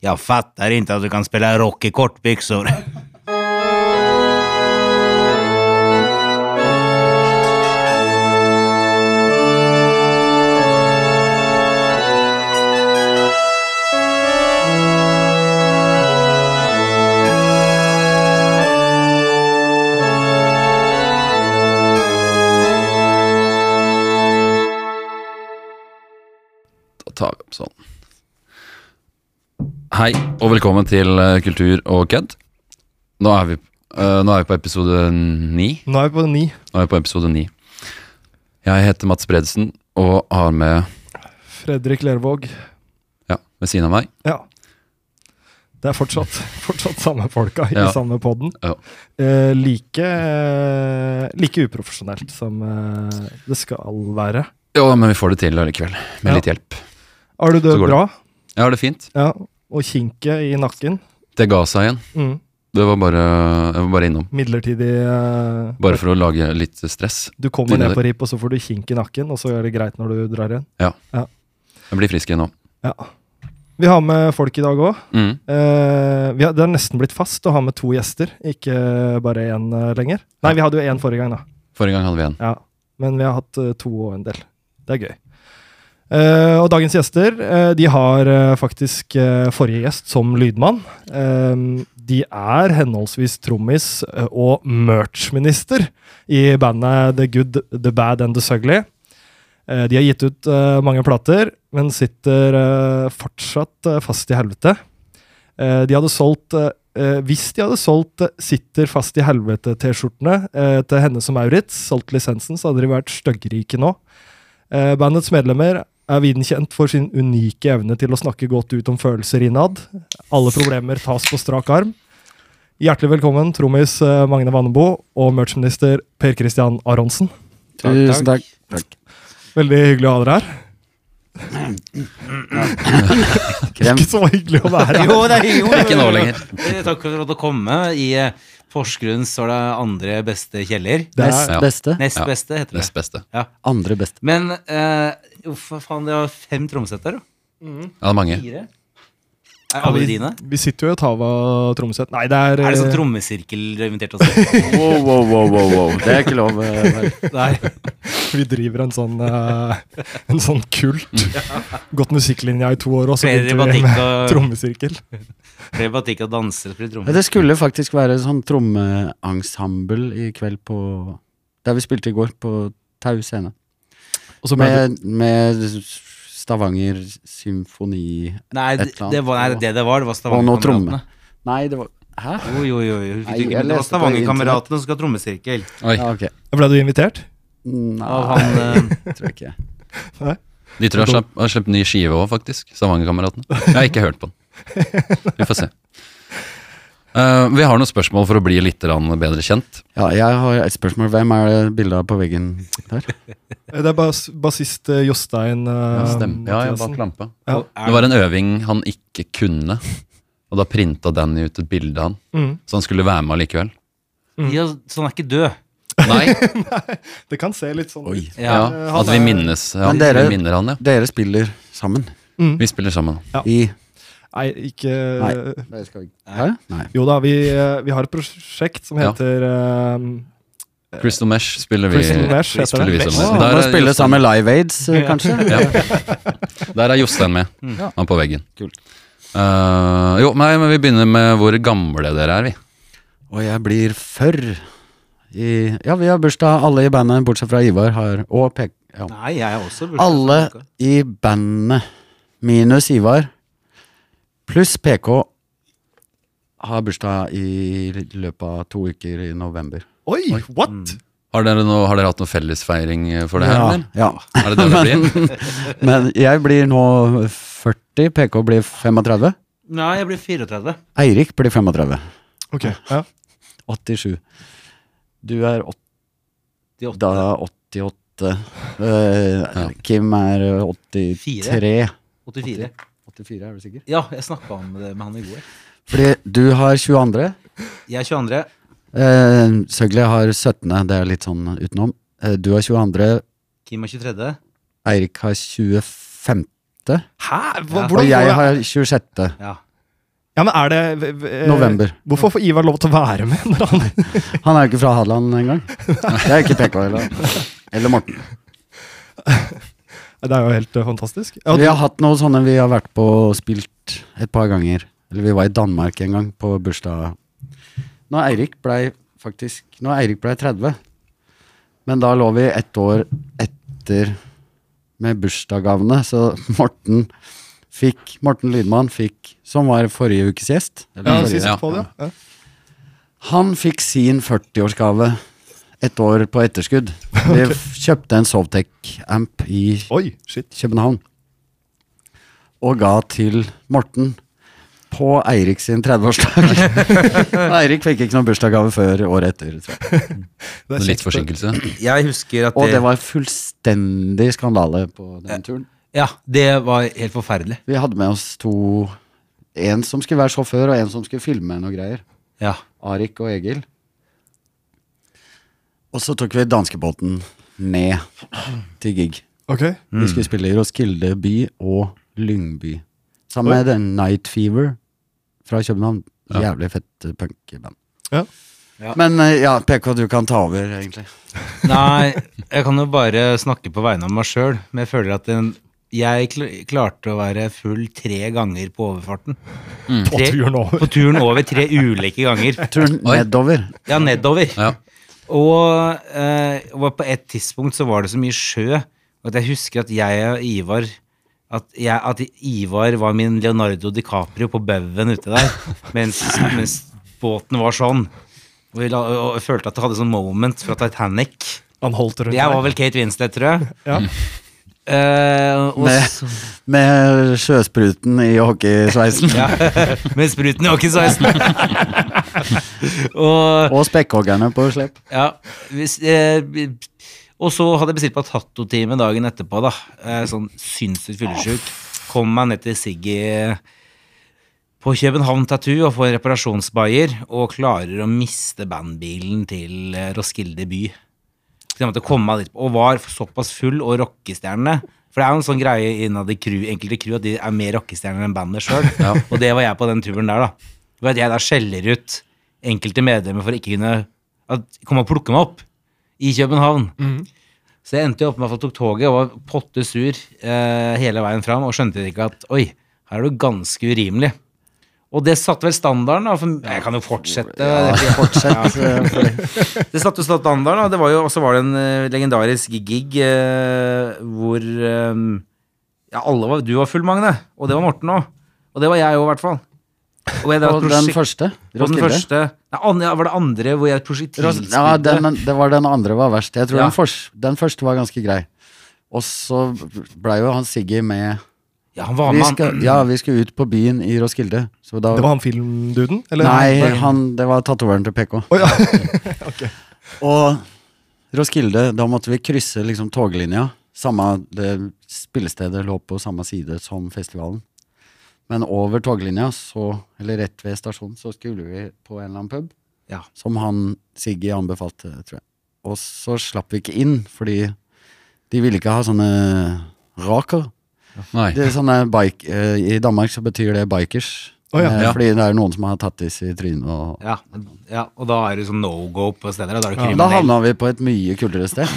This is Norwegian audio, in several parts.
Jag fattar inte att du kan spela rock i kortbyxor. Da tar vi opp sånn. Hei, og velkommen til eh, Kultur og kødd. Nå, er vi- eh, nå er vi på episode ni. Nå er vi på ni. Nå er vi på episode ni. Jeg heter Mats Bredesen og har med Fredrik Lervåg. Ja, ved siden av meg. Ja. Det er fortsatt, fortsatt samme folka Ja. i samme podden. Ja. Eh, like, eh, like uprofesjonelt som eh, det skal være. Jo, men vi får det til likevel. Med Ja. litt hjelp. Har du det Så går det. bra? Jeg har det fint. Ja. Og kinket i nakken. Det ga seg igjen. Mm. Det var bare, jeg var bare innom. Midlertidig eh, Bare for å lage litt stress. Du kommer Begynner ned det. på RIP, og så får du kink i nakken, og så er det greit når du drar igjen. Jeg blir frisk igjen nå. Ja. Vi har med folk i dag òg. Mm. Eh, vi har, det har nesten blitt fast å ha med to gjester, ikke bare én eh, lenger. Nei, vi hadde jo én forrige gang, da. Forrige gang hadde vi en. Ja, Men vi har hatt eh, to og en del. Det er gøy. Eh, og dagens gjester eh, de har eh, faktisk eh, forrige gjest som lydmann. Eh, de er henholdsvis trommis eh, og merch-minister i bandet The Good, The Bad and The Sugly. Eh, de har gitt ut eh, mange plater, men sitter eh, fortsatt eh, fast i helvete. Eh, de hadde solgt eh, eh, Hvis de hadde solgt eh, 'Sitter fast i helvete'-T-skjortene eh, til henne som Maurits, solgt lisensen, så hadde de vært styggrike nå. Eh, bandets medlemmer er viden kjent for sin unike evne til å snakke godt ut om følelser innad. Alle problemer tas på strak arm. Hjertelig velkommen, trommis eh, Magne Vannebo og merchminister Per Christian Aronsen. Tusen takk. Veldig hyggelig å ha dere her. Krem. Ikke så hyggelig å være her. Jo, det er jo Ikke nå lenger. Eh, Takk for at du kom. I eh, Porsgrunn står det andre beste kjeller. Det Nest er, Ja. beste. Nest Ja. beste, heter det. Nest beste. Andre beste. Men eh, hvorfor faen, det var fem trommesetter, da? Ja, det er mange. Fire? Er alle vi, dine? vi sitter jo i Tava Tromsø. Nei, det er, Er det sånn eh, trommesirkel du har invitert oss til? Wow, wow, wow, wow, wow. Det er ikke lov. eh, vel. Nei. Vi driver en sånn, eh, en sånn kult. Gått musikklinja i to år, og så Flere begynte vi med batikk og, trommesirkel. flere batikk og dansere spiller Men trommer. Det skulle faktisk være sånn trommeensemble i kveld på Der vi spilte i går, på Tau scene. Og så ble det Med, med Stavanger symfoni Nei, det, eller annet. det var, nei, det det var, det var Og nå Stavanger-kameratene. tromme. Nei, det var Hæ? Jo, jo, jo. jo. Nei, Fikk du ikke jeg med det var leste på Stavanger-kameratene som skal ha trommesirkel. Oi. Ja, ok. Ble du invitert? Av Nei, han eh, tror jeg ikke. De tror jeg har slapp- har sluppet ny skive òg, faktisk. Stavangerkameratene. Jeg har ikke hørt på den. Vi får se. Eh, vi har noen spørsmål for å bli litt grann bedre kjent. Ja, jeg har et spørsmål. Hvem er det bildet av på veggen der? Eh, Det er bas bassist eh, Jostein eh, Ja, ja, Mathiassen. bak lampa. Ja. Det var en øving han ikke kunne, og da printa Danny ut et bilde av han. Mm. Så han skulle være med allikevel. ja, Så han sånn er ikke død. Nei, Det kan se litt sånn ut. Ja. ja, At vi minnes ja, Men dere- Vi minner han, ja. Dere spiller sammen Mm. Vi spiller sammen. i Nei, ikke Nei. Hæ? Nei. Jo da, vi, eh, vi har et prosjekt som Ja. heter eh, Crystal Mesh spiller vi, Crystal Mesh, heter spiller vi det. sammen. Å, Der må er spille Jostein- sammen med Live Aids, eh, kanskje? Der er Jostein med, han på veggen. Kult. Eh, jo, nei, men vi begynner med hvor gamle dere er, vi. Og jeg blir før i Ja, vi har bursdag, alle i bandet, bortsett fra Ivar, har Og pek... Ja. Nei, jeg er også bursdag. Alle i bandet, minus Ivar, pluss PK, har bursdag i løpet av to uker i november. Oi, what?! Har dere, noe, har dere hatt noe fellesfeiring eh, for det her, ja, eller? ja. Er det det det blir? Men jeg blir nå 40, PK blir 35. Nei, jeg blir 34. Eirik blir 35. Ok, ja. 87. Du er åt- De åtte. da 88. Eh, Kim er 83. Fire. 84. 84, er du sikker? Ja, jeg snakka om det med han i går. Fordi du har 22. Jeg er 22. Eh, Søgli har 17. Det er litt sånn utenom. Eh, du har 22. Kim er 23. Eirik har 25. Hæ? Hva, Ja. hvordan og går jeg det? har 26. Ja. Ja, men er det v- v- eh, November. Hvorfor får Ivar lov til å være med? Når han, Han er jo ikke fra Hadeland engang. Det er ikke PK heller. Eller Morten. det er jo helt eh, fantastisk. Ja, Vi har hatt noen sånne vi har vært på og spilt et par ganger. Eller vi var i Danmark en gang, på bursdag Når Eirik blei faktisk Når Eirik blei 30. Men da lå vi ett år etter med bursdagsgavene, så Morten fikk Morten Lydmann fikk, som var forrige ukes gjest eller ja, forrige- sist ja, på det, ja. Han fikk sin 40-årsgave et år på etterskudd. Vi f- kjøpte en Sovtech-amp i Oi, shit. København og ga til Morten på Eirik sin 30-årsdag. Eirik fikk ikke noen bursdagsgave før året etter. Tror Det jeg. Litt kjekt, det. forsinkelse. Jeg husker at Og det det, var fullstendig skandale på den turen. ja, det var helt forferdelig. Vi hadde med oss to En som skulle være sjåfør, og en som skulle filme noe greier. Ja. Arik og Egil. Og så tok vi danskebåten ned til gig. Mm. Ok. Vi skulle spille i Roskilde by og Lyngby. Sammen med The Night Fever fra København. Jævlig fett eh, punkband. Ja. Ja. Men eh, ja, PK, du kan ta over, egentlig. Nei, jeg kan jo bare snakke på vegne av meg sjøl, men jeg føler at den, jeg kl- klarte å være full tre ganger på overfarten. På Tre- turen over. På turen over tre ulike ganger. Turen Oi. nedover. Ja, nedover. Ja. Og, eh, og på et tidspunkt så var det så mye sjø at jeg husker at jeg og Ivar at, jeg, at Ivar var min Leonardo DiCaprio på baugen ute der, mens, mens båten var sånn. Og jeg, la, og jeg følte at jeg hadde sånn moment fra Titanic. Han holdt rundt Jeg var deg. vel Kate Winslet, tror jeg. Ja. Eh, og Med- så- Med sjøspruten i hockeysveisen. ja, med spruten i hockeysveisen. og Og spekkhoggerne på slep. Ja. Hvis, eh, og så hadde jeg bestilt meg tattotime dagen etterpå, da. Eh, sånn sinnssykt fyllesyk. Kom meg ned til Siggy eh, på København Tattoo og får en reparasjonsbayer, og klarer å miste bandbilen til eh, Roskilde by. Så jeg måtte komme meg dit, og var såpass full og rockestjerne. For det er jo en sånn greie innad i crew, enkelte crew at de er mer rockestjerner enn bandet sjøl. Og det var jeg på den turen der, da. Det var at jeg da skjeller ut enkelte medlemmer for ikke kunne at, komme og plukke meg opp i København. Så jeg endte jo opp med at jeg tok toget og var potte sur eh, hele veien fram og skjønte ikke at oi, her er du ganske urimelig. Og det satte vel standarden, da. For jeg kan jo fortsette. Fortsett. eh, for- Det satte jo standarden, og det var jo også var det en eh, legendarisk gig eh, hvor eh, ja, alle var, du var full, Magne, og det var Morten òg. Og det var jeg òg, i hvert fall. Og jeg, det var Og et den prosjekt- første. og den Roskilde. første Nei, an, ja, var det andre hvor jeg Ros prosjektilspilte? ja, den, det var den andre var verst. Jeg tror Ja. den, fors- den første var ganske grei. Og så blei jo han Siggy med Ja, han var vi med skal, han. Ja, vi skal ut på byen i Roskilde. Så da Det var han filmduden? Eller? Nei, han, det var tatoveren til PK. Å, ja. Og Roskilde, da måtte vi krysse liksom toglinja. Samme, det spillestedet lå på samme side som festivalen. Men over toglinja, så, eller rett ved stasjonen, så skulle vi på en eller annen pub. Ja. Som han Siggy anbefalte, tror jeg. Og så slapp vi ikke inn, fordi de ville ikke ha sånne raker. Nei. Det er sånne bike, eh, I Danmark så betyr det bikers. Å, ja. Eh, Ja. Fordi det er noen som har tattis i trynet og Ja, ja, og da er det sånn no go på steder. og Da er du Da kriminell. havna vi på et mye kulere sted.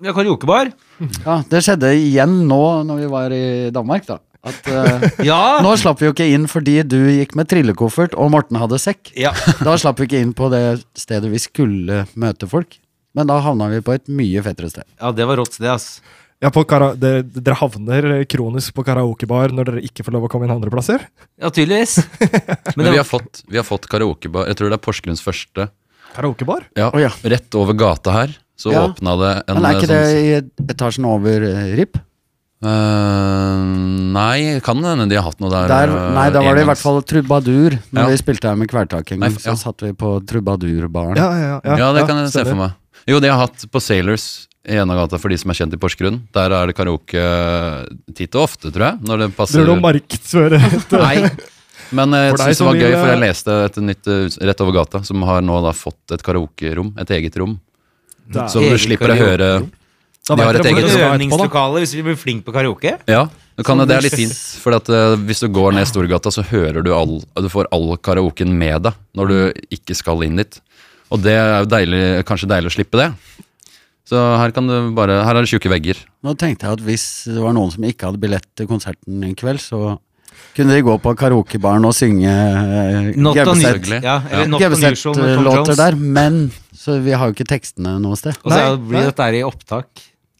Vi har karaokebar. Ja, Det skjedde igjen nå når vi var i Danmark, da. At, eh, Ja! nå slapp vi jo ikke inn fordi du gikk med trillekoffert og Morten hadde sekk. ja! Da slapp vi ikke inn på det stedet vi skulle møte folk. Men da havna vi på et mye fettere sted. Ja, det var rått sted, ass. Ja, på kara dere, dere havner kronisk på karaokebar når dere ikke får lov å komme inn andre plasser? Ja, tydeligvis. Men Men det vi har var, fått, vi har fått karaokebar. Jeg tror det er Porsgrunns første. Karaokebar? Ja, Å, ja. Rett over gata her så Ja. åpna det en Men er eh, ikke det i etasjen over eh, RIP? Eh, nei, kan det hende de har hatt noe der. Der, eh, nei, da var det i engangs. hvert fall Trubadur. Når Ja. vi spilte her med Kvelertak en Nei, gang, f- ja. så satt vi på Trubadurbaren. Ja, ja, ja. Ja, det kan jeg se stemmer. for meg. Jo, det jeg har hatt på Sailors i Enagata, for de som er kjent i Porsgrunn. Der er det karaoke eh, titt og ofte, tror jeg. Når det passer. Driver du og markedsfører? Nei. Men eh, jeg For synes deg det som var gøy, vil, for jeg eh, leste et nytt eh, rett over gata, som har nå da fått et karaokerom. Et eget rom. Da- Så du Eget slipper å høre da De vet har et dere hvor eget dere skal etterpå, da. øvingslokale hvis vi blir flinke på karaoke. Ja, du Du kan, jo- det er litt fint, for at, eh, hvis du går ned Storgata, så hører du all, du får all karaoken med deg når du ikke skal inn dit. Og det er jo deilig, kanskje deilig å slippe det. Så her, kan du bare, her er det tjukke vegger. Nå tenkte jeg at hvis det var noen som ikke hadde billett til konserten en kveld, så kunne de gå på karaokebaren og synge eh, Not Gaubeseth- unusual. Ja, eller Ja. Not Unusual med Tom Gaubeseth-låter Jones. der, men så vi har jo ikke tekstene noe sted. Og så Nei, er- blir nei. dette her i opptak.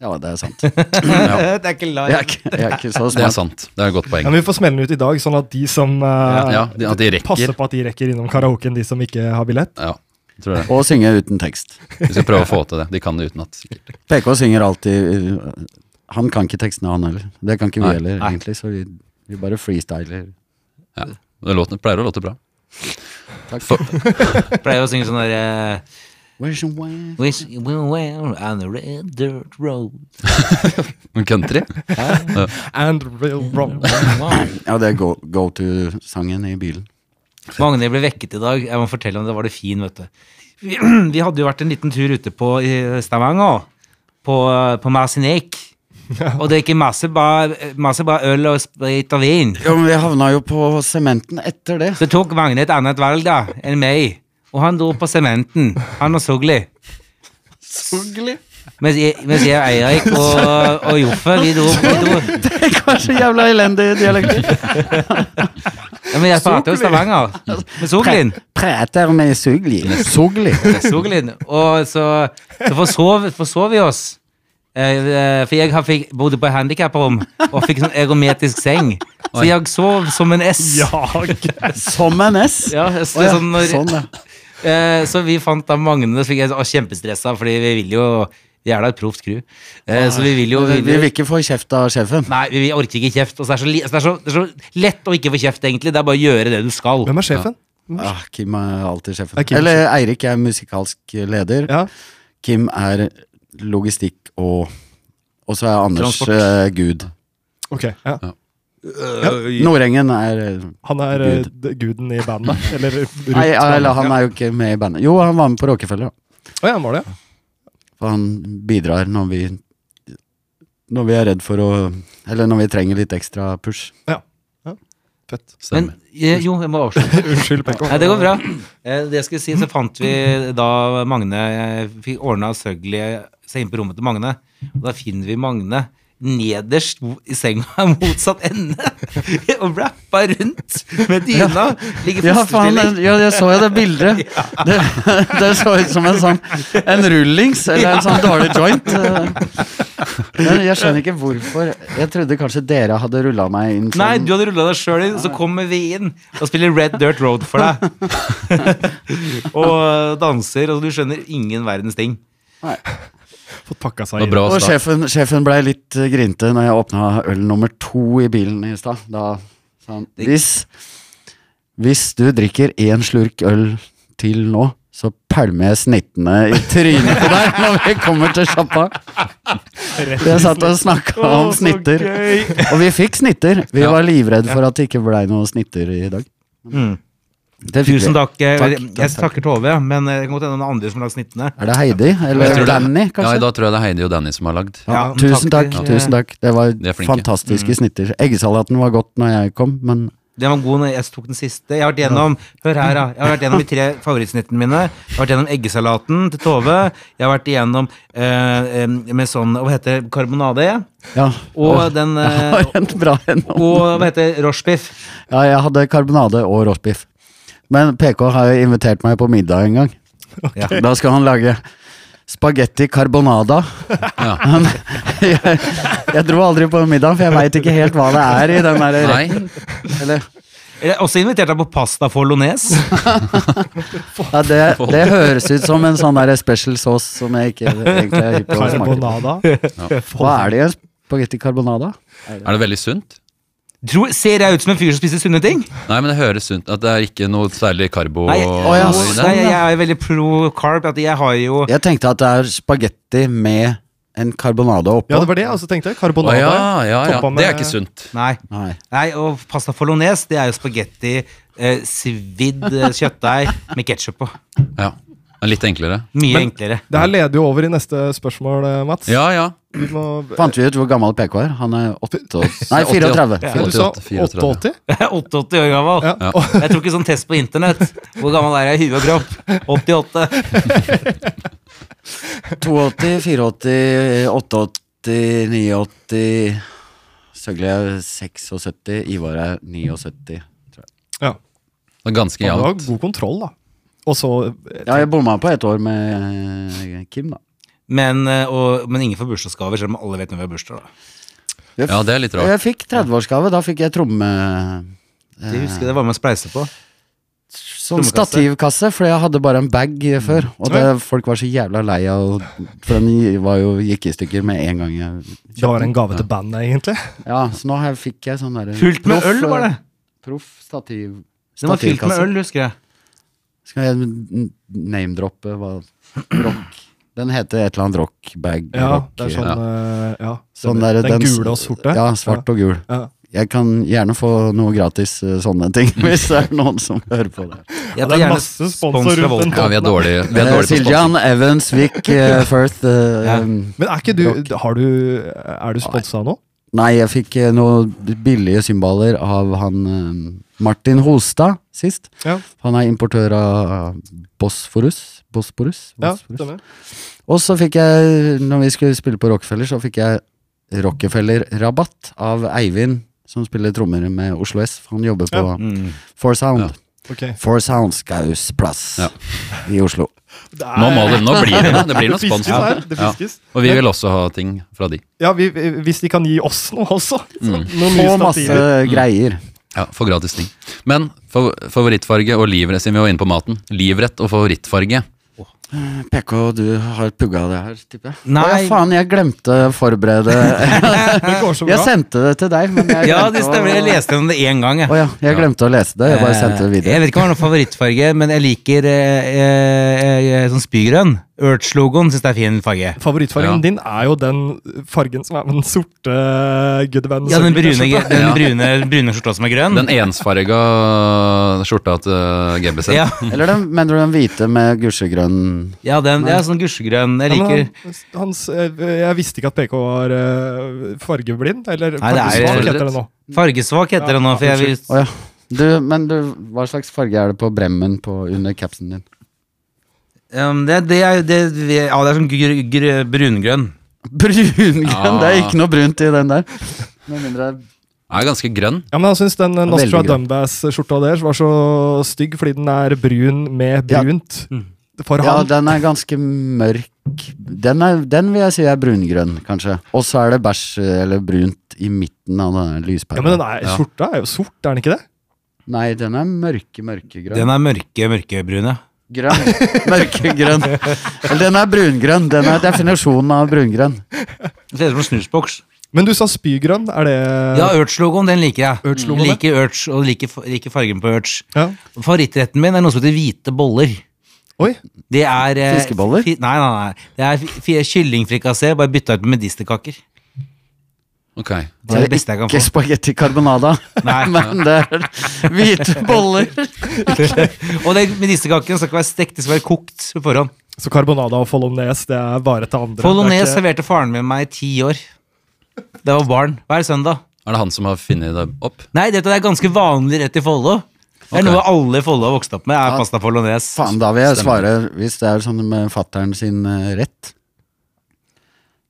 Ja, det er sant. Ja, det er ikke Jeg live. er ikke, jeg er ikke så det er smart. sant. Det er et godt Ja, poeng. men vi får smelle den ut i dag, sånn at de som eh, Ja, de- at de passer rekker. på at de rekker innom karaoken, de som ikke har billett. Ja, jeg tror det. Og synge uten tekst. Vi skal prøve å få til det. De kan det utenat. sikkert. PK synger alltid uh, Han kan ikke tekstene, han heller. Det kan ikke vi Nei, heller, nei. egentlig, så vi, vi bare freestyler. Det låter, pleier å låte bra. Takk. For- Pleier å synge sånn der eh, Where's your wife? Wish you were well on the red dirt road. Country? And real wrong. Ja, det er go, go to-sangen i bilen. Magne ble vekket i dag. Jeg må fortelle om det var det fin, vet du. Vi, vi hadde jo vært en liten tur ute på i Stavanger, på, på Marcinek. Og drikke masse, bar- masse bare øl og sprit og vin. Ja, men vi havna jo på sementen etter det. Så tok Magne et annet valg da, enn meg. Og han dro på sementen, han og Sugli. Sugli. Mens jeg, mens jeg og Eirik og, og Joffe, vi dro, vi dro Det var så jævla elendig dialekt. ja, Men jeg prater jo Stavanger. Med Suglin. Præter med sugli. Sugli. Suglin. Og så, så forsov, forsov vi oss. Eh, eh, For jeg har fikk, bodde på handikaprom og fikk sånn ergometisk seng. Så Oi. jeg sov som en S. Ja, ok. Som en S. Ja, så, Å ja, sånn når, sånn, ja. Eh, så vi fant da Magne, så fikk jeg var kjempestressa, fordi vi vil jo Vi er da et proft crew. Eh, så vi vil jo Vi vil ikke få kjeft av sjefen. Nei, vi, vi orker ikke kjeft. Og så er det så, li- så det er så, det er så lett å ikke få kjeft, egentlig. Det er bare å gjøre det du skal. Hvem er sjefen? Ah, Kim er alltid sjefen. Det er Kim Eller Eirik er musikalsk leder. Ja. Kim er logistikk og Og så er Anders Transport. eh, gud. Ok. Ja. Nordengen er eh, Han er eh, d- guden i bandet. Eller rundt Nei, eller bandet. han er jo ikke med i bandet. Jo, han var med på Råkefeller, da. Å ja, han var det? ja. For han bidrar når vi Når vi er redd for å Eller når vi trenger litt ekstra push. Fett. Men Stemmer. eh, jo, jeg må avslutte. Unnskyld, Pekko. Nei, det går bra. Eh, det jeg skulle si, så fant vi da Magne eh, Fikk ordna Søgli seg inn på rommet til Magne. Og da finner vi Magne nederst i senga, motsatt ende, og rappa rundt med dyna. Ligger i Ja, faen, fosterstilling. ja, jeg så jo det bildet. Det, det så ut som en sånn En rullings, eller en sånn dårlig joint. Men jeg skjønner ikke hvorfor. Jeg trodde kanskje dere hadde rulla meg inn Nei, sånn. du hadde rulla deg sjøl inn, så kommer vi inn og spiller Red Dirt Road for deg. og danser, og du skjønner ingen verdens ting. Fått pakka Det seg var inn. bra Og start. sjefen, sjefen blei litt eh, grinte når jeg åpna øl nummer to i bilen i stad. Da sa han hvis, hvis du drikker én slurk øl til nå, så pælmer jeg snittene i trynet på deg når vi kommer til sjappa. Rett Vi satt og snakka om Å, så snitter. gøy. Og vi fikk snitter. Vi Ja. var livredde for at det ikke blei noen snitter i dag. Mm. Det fikk Tusen vi. takk. eh, Takk, jeg takk, takk. takker Tove, men det kan godt hende det er andre som har lagd snittene. Er det Heidi? Jeg Eller tror det. Danny, Ja, i kanskje? dag tror jeg det er Heidi og Danny som har lagd. Ja, Ja, tusen takk. takk. tusen takk Det var De er flinke. fantastiske snitter. Eggesalaten var godt når jeg kom, men Den var god når jeg tok den siste. Jeg har vært gjennom hør her da, jeg har vært gjennom de tre favorittsnittene mine. Jeg har vært gjennom eggesalaten til Tove. Jeg har vært igjennom eh, eh, med sånn Hva heter det? Karbonade. ja. Og den eh, Har en bra en. Og hva heter det? Rochebiff. Ja, jeg hadde karbonade og roastbiff. Men PK har jo invitert meg på middag en gang. Ja. Da skal han lage spagetti carbonada. Ja. Men jeg, jeg dro aldri på middag, for jeg veit ikke helt hva det er i den der Nei, retten. Eller, Jeg har også invitert deg på pasta follones. ja, det, det høres ut som en sånn der special sauce som jeg ikke egentlig er hypp på å smake. Carbonada. Hva er det i en spagetti carbonada? er det veldig sunt? Tror, ser jeg ut som en fyr som spiser sunne ting? Nei, men det høres sunt At det er ikke noe særlig karbo Nei, Å, ja, i sånn, nei det. jeg er veldig pro carb. At jeg har jo Jeg tenkte at det er spagetti med en carbonade oppå. Ja, det var det jeg også tenkte. Å Carbonada. ja, ja, ja. Toppa med- Det er ikke sunt. Nei. Nei. nei og pasta follones, det er jo spagetti, eh, svidd eh, kjøttdeig med ketsjup på. Ja. Det er Litt enklere. Mye Men- enklere. Det her leder jo over i neste spørsmål, eh, Mats. Ja, ja. Vi må, Fant vi ut hvor gammel PK er? Han er 8, nei, 34. Ja. ja, du sa 88, 88? 88 år gammel. Ja. Ja. Jeg tok en sånn test på internett. Hvor gammel er jeg i huet og kropp? 88. 82, 84, 88, 89 Søgle er 76, Ivar er 79. Ja. Det er ganske Han har jevnt. god kontroll, da. Og så eh, Ja, jeg bomma på ett år med eh, Kim, da. Men, eh, og, men ingen får bursdagsgaver, selv om alle vet når vi har bursdag. Da. Jeg, Ja, det er litt rart. jeg fikk 30-årsgave. Da fikk jeg tromme... Det husker jeg det var med å spleise på. Eh, Sånn Trommekasse. stativkasse, for jeg hadde bare en bag Mm. eh, før. Og det, folk var så jævla lei av For den var jo, gikk i stykker med en gang. Jeg, Det var en gave til bandet, egentlig. ja, Så nå her fikk jeg sånn derre Fylt med øl, var det. Proff stativ... Den var fylt med stativkasse. øl, husker jeg. Skal jeg n- name-droppe hva Rock. Den heter et eller annet rockbag. Ja, rock, det er sånn, Ja. eh, ja. sånn der, den, s- gule og sorte. Ja, svart og gul. Ja. Jeg kan gjerne få noe gratis eh, sånne ting, hvis det er noen som hører på det. Jeg det tar er gjerne masse sponsor spons fra rundt Volta. den. Ja, vi er dårlige, vi er Eh, dårlige på sponsing. Siljan, Evans, Wick, eh, Firth eh, Ja. um, Men er ikke du, har du Er du sponsa nå? Nei, jeg fikk eh, noen billige cymbaler av han eh, Martin Holstad sist. Ja, Han er importør av Bosforus. Bosporus? ja Bosforus. stemmer. Og så fikk jeg, når vi skulle spille på Rockefeller, så fikk jeg Rockefeller-rabatt av Eivind, som spiller trommer med Oslo S. Han jobber på Mm. Four Sound. Ja. Ok. Four Sound Skaus plass Ja. i Oslo. Det er- Nå, må det, nå blir det noe. Det blir det noe spons. fiskes her. Det Ja. fiskes. Og vi vil også ha ting fra de. Ja, vi, hvis de kan gi oss noe også. Så, Noen nye Og masse stativer. greier. Ja, For gratis ting. Men fav favorittfarge og livrett, siden vi var inne på maten. Livrett og favorittfarge. PK, du har pugga det her, tipper jeg. Nei. Å, ja, faen, jeg glemte å forberede Det går så bra. Jeg sendte det til deg, men jeg Ja, glemte det stemmer. Jeg å- leste om det én gang. jeg. Å ja, jeg glemte å lese det. Jeg bare sendte det videre. Eh, Jeg vet ikke om jeg har noen favorittfarge, men jeg liker eh, eh, eh, sånn spygrønn. Urge-logoen syns det er fin farge. Favorittfargen Ja. din er jo den fargen som er med den sorte Goodband. Ja, den brune, den Ja. brune, brune skjorta som er grønn. Den ensfarga skjorta til eh, GBC. ja, Eller den, mener du den hvite med gusjegrønn ja, den, ja, sånn gusjegrønn. Jeg liker han, hans, eh, jeg visste ikke at PK var eh, fargeblind, eller Nei, det er- fargesvak heter det nå. Fargesvak heter den nå, for jeg vil Å ja. Du, men du, hva slags farge er det på bremmen på, under capsen din? Ehm, det, det er, det, ja, det er sånn gr gr brungrønn. Brungrønn! Ja. Det er ikke noe brunt i den der. Med mindre Er ganske grønn. Ja, men jeg syns den eh, Veldig Nostra grønn. Dumbass-skjorta deres var så stygg fordi den er brun med Ja. brunt. For Ja, han. den er ganske mørk. Den, er, den vil jeg si er brungrønn, kanskje. Og så er det bæsj eller brunt i midten av Ja, denne men lyspæra. den er, Ja. skjorta er jo sort, er den ikke det? Nei, den er mørke, mørkegrønn. Den er mørke, mørkebrun, ja. Grønn. Mørkegrønn. Eller Den er brungrønn. Den er definisjonen av brungrønn. Det Ser ut som en snusboks. Men du sa spygrønn, er det Ja, Urge-logoen, den liker jeg. Urge-logoen, ja. liker Urge, og liker, fa- liker fargen på Urge. Ja. Favorittretten min er noe som heter hvite boller. Oi, Det er eh, Fiskeboller? Fi, nei, nei, nei. Det er fi- fi, kyllingfrikassé, bare bytta ut med medisterkaker. Ok. Det er det beste jeg kan ikke få. spagetti carbonada, Nei. men det er hvite boller. Og den medisterkaken skal ikke være stekt, det skal være kokt på forhånd. Så carbonada og follones, det er bare til andre. Follones det er ikke, serverte faren min meg i ti år. Det var barn. Hver søndag. Er det han som har funnet det opp? Nei, dette er ganske vanlig rett i Follo. Det er Ok. noe alle i Follo har vokst opp med, er Ja. pasta follones. Faen, da vil jeg svare, hvis det er sånn med fatteren sin eh, rett,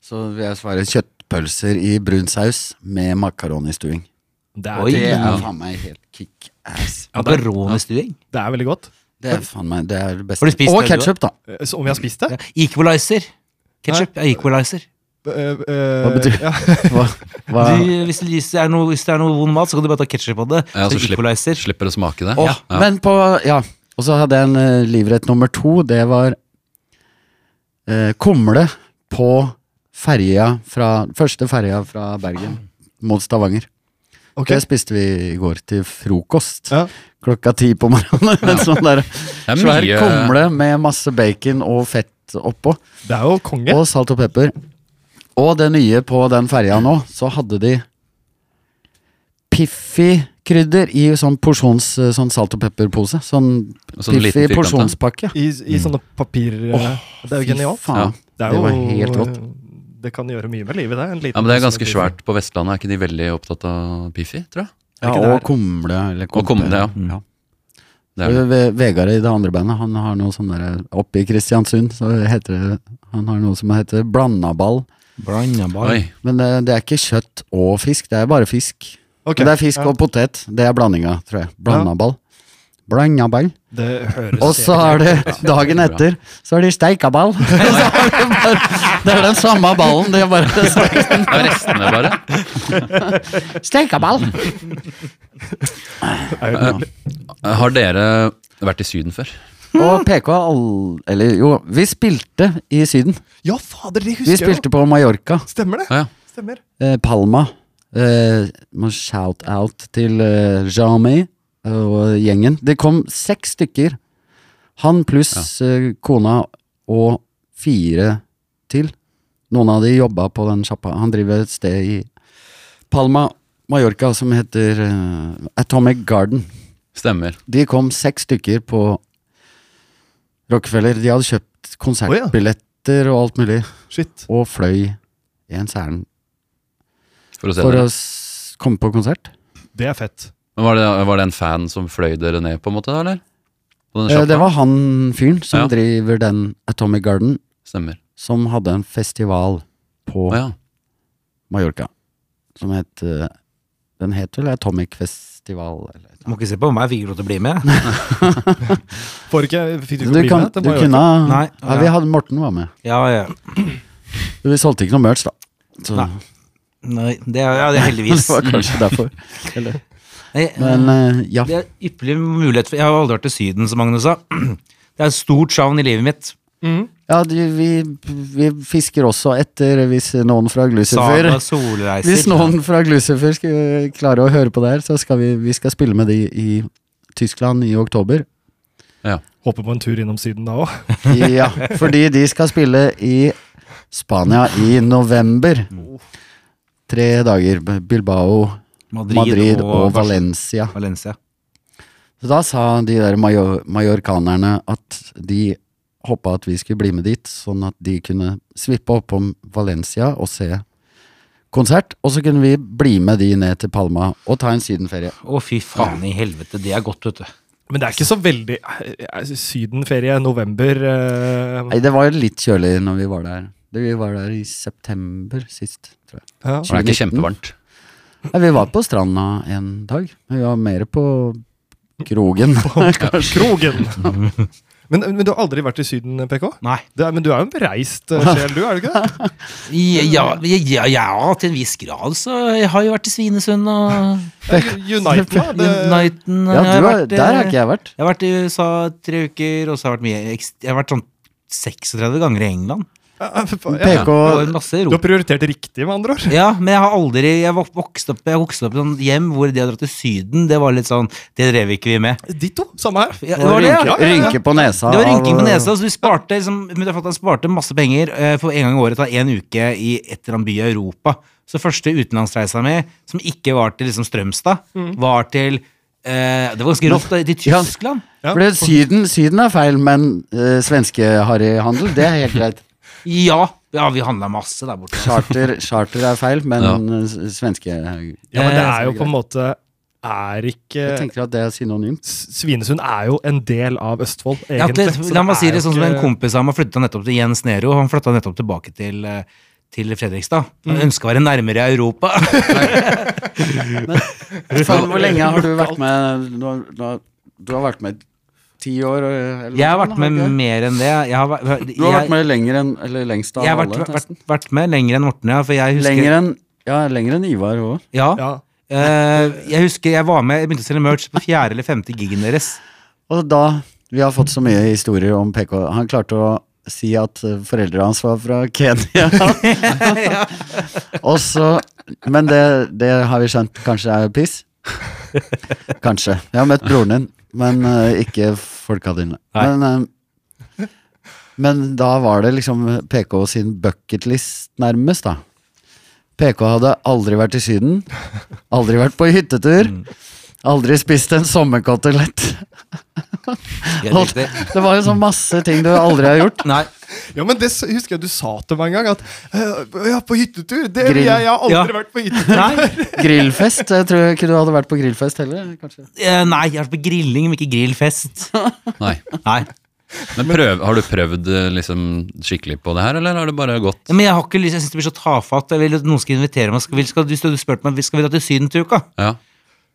så vil jeg svare kjøttpølser i brun saus med makaronistuing. det Oi. er, Det Ja. er faen meg helt kick-ass. Makaronistuing. det er veldig godt. Det er faen meg det er det beste. Har du spist Og det, du, ketsjup, da. Eh, Så om vi har spist det? Equalizer. Ketchup er equalizer. Eh, eh, Hva betyr- ja. Hva, hva? Du, hvis, det er noe, hvis det er noe vond mat, så kan du bare ta ketchup på det. Ja, så så slipp- equalizer. Slipper å smake det? Åh, Men på Ja. Og så hadde jeg en eh, livrett nummer to. Det var eh, kumle på ferja fra Første ferja fra Bergen mot Stavanger. Ok. Det spiste vi i går til frokost. Ja. Klokka ti på morgenen. En sånn der Det er svær mye- kumle med masse bacon og fett oppå. Det er jo konge. Og salt og pepper. Og det nye på den ferja nå, så hadde de Piffi krydder i sånn porsjons eh, sånn salt og pepperpose. Sånn Sånn piffig liten firkant. porsjonspakke. I, i sånne papir... Mm. eh, Åh, det er jo genialt. Faen. Det, er det jo, var helt rått. Det kan gjøre mye med livet, det. En liten Ja, men Det er pose ganske med svært på Vestlandet. Er ikke de veldig opptatt av Piffi, tror jeg? Er Ja, ikke det og her- kumle. Eller Og kumle, ja. Mm, Det er det. Ve- Ve- Vegard i det andre bandet, han har noe sånn der Oppe i Kristiansund, så heter det Han har noe som heter blandaball. Oi. Blandaball. Men det, det er ikke kjøtt og fisk, det er bare fisk. Ok, Men det er fisk ja. og potet. Det er blandinga, tror jeg. Blandaball. Blandaball. Det høres Og så er det dagen etter, så er det steikaball. Så er det, bare, det er den samme ballen, det er bare Det er restene, bare. steikaball. Har dere vært i Syden før? Og PK all, Eller jo, vi spilte i Syden. Ja, fader, det Vi husker jeg! spilte på Mallorca. jo. Stemmer det? Ja, ja. Stemmer. eh, Palma. Eh, må shout out til eh, Jami og gjengen. Det kom seks stykker. Han pluss eh, kona og fire til. Noen av de jobba på den sjappa. Han driver et sted i Palma, Mallorca, som heter eh, Atomic Garden. Stemmer. De kom seks stykker på Rockefeller. De hadde kjøpt konsertbilletter og alt mulig, Shit. og fløy i en særen For å se for dere. å s- komme på konsert. Det er fett. Men var, det, var det en fan som fløy dere ned, på en måte? da, eller? På den Eh, Det sjappa? var han fyren som Ja. driver den Atomic Garden, Stemmer. som hadde en festival på Å ja. Mallorca. Som het eh, Den het vel Atomic Festival? Eller. et eller Må ikke se på meg, fikk ikke lov til å bli med. Får ikke, fikk du ikke annet. Du, bli kan, med? Det du må jeg kunne Nei, ja, ja. vi hadde, Morten var med. Ja, ja. Vi solgte ikke noe merch, da. Så Nei. Nei, det er, ja, det er det heldigvis. var kanskje derfor. Eller. Nei, Men eh, ja. Det er ypperlig mulighet for Jeg har aldri vært til Syden, som Magnus sa. Det er et stort savn i livet mitt. Mm. ja du, vi, vi fisker også etter hvis noen fra Glucifer Saga solreiser. Hvis noen fra Glucifer skulle klare å høre på det her, så skal vi, vi skal spille med de i Tyskland i oktober. Håper på en tur innom Syden da òg. Ja, fordi de skal spille i Spania i november. Tre dager. Bilbao, Madrid, Madrid og Bar- Valencia. Valencia. Så da sa de der major majorkanerne at de håpa at vi skulle bli med dit, sånn at de kunne svippe opp om Valencia og se konsert. Og så kunne vi bli med de ned til Palma og ta en sydenferie. Å, fy faen i helvete, det er godt, vet du. Men det er ikke så veldig eh, Sydenferie, november eh, Nei, det var jo litt kjølig når vi var der. Det- Vi var der i september sist, tror jeg. ja. Og det er ikke kjempevarmt. Nei, vi var på stranda en dag, men vi var mer på krogen. Krogen! men, men du har aldri vært i Syden, PK? Nei. Det er, men du er jo en bereist eh, sjel, du, er du ikke det? Mm. Ja, ja, ja, ja, til en viss grad, så jeg har jo vært i Svinesund og Eh, Uniten, da. Det, Uniten. Ja, jeg du har, vært, eh, der har ikke jeg vært. Jeg har vært i USA tre uker, og så har jeg vært mye Jeg har vært sånn 36 ganger i England. ja. Og PK masse Du har Europa. prioritert riktig, med andre ord. Ja, men jeg har aldri Jeg vok- vokste opp, jeg vokste opp i sånn hjem hvor de hadde dratt til Syden. Det var litt sånn Det drev ikke vi med. Ditto. Samme her. Ja, det var det, ja. rynke, rynke på nesa. Det var rynking på av- nesa, så du sparte, liksom, men det er for at han sparte masse penger eh, for en gang i året ta en uke i et eller annet by i Europa. Så første utenlandsreisa mi, som ikke var til liksom, Strømstad, Mm. var til eh, Det var ganske rått, da, til Ja. Tyskland. Ja. For det- syden, syden er feil, men uh, svenskeharryhandel, det er helt greit. Ja, ja vi handla masse der borte. Charter, charter er feil, men Ja. eh, s- svenske Ja, men det Eh, er jo på en måte Er Jeg ikke tenker at det er synonymt. S- Svinesund er jo en del av Østfold, Ja, egentlig. det, så la meg er si jo det sånn som ikke- en kompis av meg flytta nettopp til Jens Nero. Han flytta nettopp tilbake til, eh, til Fredrikstad. Han Mm. ønska å være nærmere Europa. Faen, hvor lenge har du vært med? Du har, du har- du har vært med ti år? eh, Eller Jeg har noe vært sånt, med ikke? mer enn det. Jeg har, vært- Du har jeg- vært med lenger enn Eller lengst av jeg har alle? vært, vært, nesten. vært med lenger enn Morten, ja. For jeg husker lenger enn ja, lenger enn Ivar òg. Ja. Ja. Eh, jeg husker jeg var med, jeg begynte å selge merch på fjerde eller femte gigen deres. Og da Vi har fått så mye historier om PK. Han klarte å si at eh, foreldrene hans var fra Kenya. Og så Men det, det har vi skjønt kanskje er piss. Kanskje. Jeg har møtt broren din, men eh, ikke folka dine. Nei. Men, eh, men da var det liksom PK sin bucketlist, nærmest, da. PK hadde aldri vært i Syden. Aldri vært på hyttetur. Aldri spist en sommerkotelett. Helt riktig. Det var jo sånn masse ting du aldri har gjort. Nei. Ja, men det s- husker jeg du sa til meg en gang, at «Øh, ja, på hyttetur Det vil Grill. jeg, jeg har aldri Ja. vært på hyttetur. Nei. Grillfest. Jeg tror ikke du hadde vært på grillfest heller. kanskje. Eh, Nei, jeg har vært på grilling, men ikke grillfest. Nei. Nei. Men prøv, har du prøvd eh, liksom skikkelig på det her, eller har det bare gått? Men jeg har ikke lyst, jeg syns det blir så tafatt. Jeg vil at noen skal invitere meg. Skal, vil- skal, du, du spurte meg skal vi dra til Syden til uka. Ja.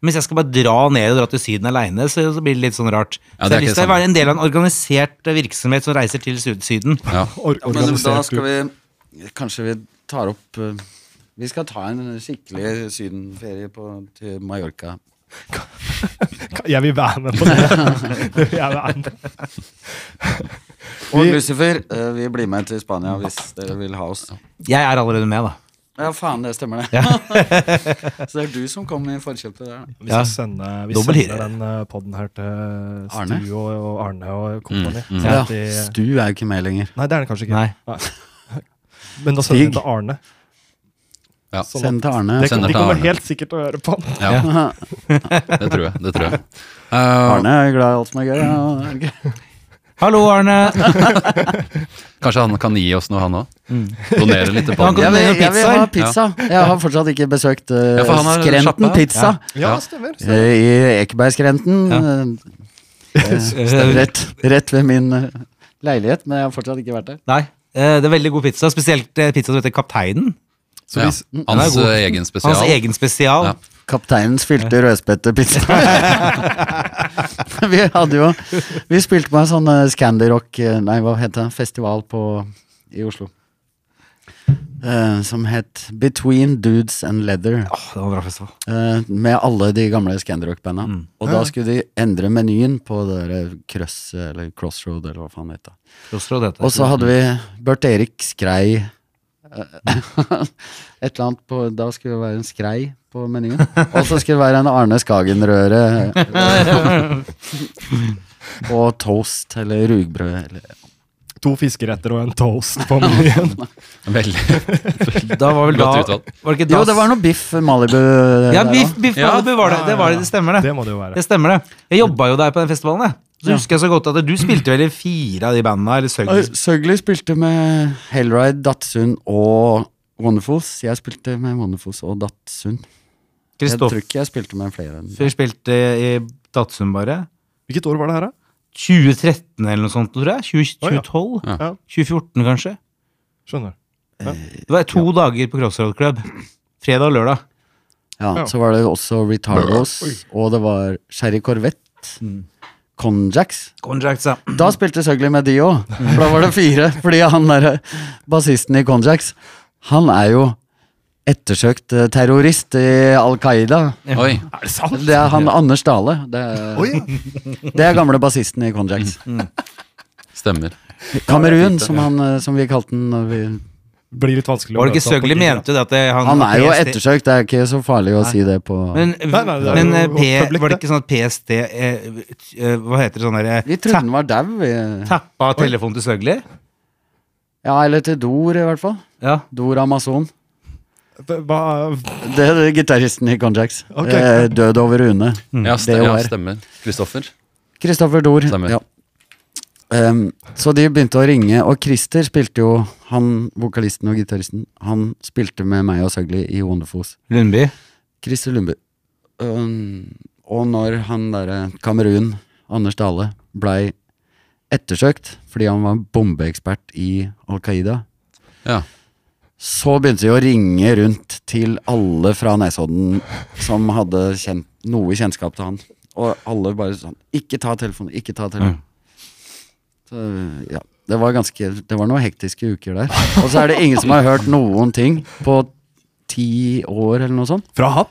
Men Hvis jeg skal bare dra ned og dra til Syden aleine, så, så blir det litt sånn rart. Ja, så jeg har det er ikke lyst til det å være en del av en organisert eh, virksomhet som reiser til Syd- Syden. ja. Or Men da organisert skal vi Kanskje vi tar opp eh, Vi skal ta en skikkelig sydenferie på, til Mallorca. Jeg vil være med på det. det vil jeg være med. Og Vi- Lucifer, eh, vi blir med til Spania hvis dere vil ha oss. Jeg er allerede med, da. Ja, faen, det stemmer, det. Så det er du som kom i forkjøpet der. da. Vi Ja. skal sende, vi Dobbel sender hyre. den eh, podden her til Arne? Stu og, og Arne og kompani. Mm, mm. sånn at de- Stu er jo ikke med lenger. Nei, det er den kanskje ikke. Nei. Men da sender vi den Stig. til Arne. Ja. Sånn Send til at- Arne. Det, Sender de til kommer Arne. helt sikkert til å høre på. den. ja. Det tror jeg. Det tror jeg. Eh, Arne er glad i alt som er gøy. Ja. Hallo, Arne. Kanskje han kan gi oss noe, han òg? Donere litt Ja, han til podden. kan- Jeg vil, jeg vil ha pizza. pizzaer. Jeg har fortsatt ikke besøkt eh, Ja, for han har Skrenten sjappa. pizza. Ja, Ja. stemmer. Eh, I Ekebergskrenten. eh, Rett, rett ved min eh, leilighet, men jeg har fortsatt ikke vært der. Nei. eh, Det er veldig god pizza, spesielt eh, pizza som heter Kapteinen. Så Ja. hvis, Den er Hans god. eh, egen spesial. Hans egen spesial. Ja. Kapteinen spilte rødspettepizza. vi hadde jo Vi spilte på en sånn eh, Scandi Rock eh, Nei, hva het det? Festival på, i Oslo. Eh, som het Between Dudes and Leather. Åh, det var en bra festival. Eh, med alle de gamle Scandirock-banda. Mm. Og da skulle de endre menyen på det der Krøss eller Crossroad eller hva faen det heter. Crossroad heter det. Og så hadde vi Bert Erik Skrei eh, Et eller annet på Da skulle det være en skrei på menyen. Og så skulle det være en Arne Skagen-røre. Og toast eller rugbrød eller to fiskeretter og en toast på menyen. Veldig Da var vel da Godt Var utvalg. det ikke da Jo, det var noe biff Malibu eh, Ja, der biff, også. biff Ja. Malibu var det. Det var det, det stemmer det. Det må det jo være. Det stemmer det. Jeg jobba jo der på den festivalen, jeg. Så husker jeg så godt at du spilte vel i fire av de bandene, eller Eh, Søgnes. Søgli spilte med Hellride, Datsun og Wonderfuls. Jeg spilte med Wonderfuls og Datsun. Jeg tror Kristoffer ikke jeg spilte med flere enn spilte i Datsun, bare. Hvilket år var det her, da? 2013 eller noe sånt, tror jeg. 20, Å, ja. 2012? Ja. Ja. 2014, kanskje. Skjønner. Det var to dager på Crossroad Club. Fredag og lørdag. Ja, Ja. så var det også Retardos, og det var Sherry Corvette. Conjax. Contracts, ja. Da spilte Søgli med de òg, for da var det fire. Fordi han der bassisten i Conjax, han er jo ettersøkt eh, terrorist i Al Qaida. Oi. Er det sant? Det er han Anders Dale. Det er, Oi, ja. det er gamle bassisten i Conjax. Stemmer. Kamerun, som, han, eh, som vi kalte den. når vi Blir litt vanskelig å Var det ikke møte han på Søgli gig, da. mente jo det at det, han Han er jo PST ettersøkt, det er ikke så farlig å si det på Men, Nei, nei, det er men jo eh, godt P, publikt, var det det. ikke sånn at PST eh, eh, Hva heter det sånn derre Vi trodde den var dau. vi. Tappa telefonen til Søgli? Ja, eller til Dor, i hvert fall. Ja. Dor Amazon. Hva, Det er gitaristen i Conjax. Ok. Eh, død over Une. Ja, Det ste- ja, var- stemmer. Kristoffer. Kristoffer Dor. Stemmer. Ja. Em, så de begynte å ringe, og Christer spilte jo Han vokalisten og gitaristen Han spilte med meg og Søgli i Wonderfools. Lundby. Christer Lundby. Um, og når han derre Kamerun, Anders Dale, blei ettersøkt fordi han var bombeekspert i Al Qaida, Ja. Så begynte de å ringe rundt til alle fra Nesodden som hadde kjent, noe kjennskap til han. Og alle bare sånn Ikke ta telefonen, ikke ta telefonen. Så, ja, det var ganske Det var noen hektiske uker der. Og så er det ingen som har hørt noen ting på ti år, eller noe sånt. fra han?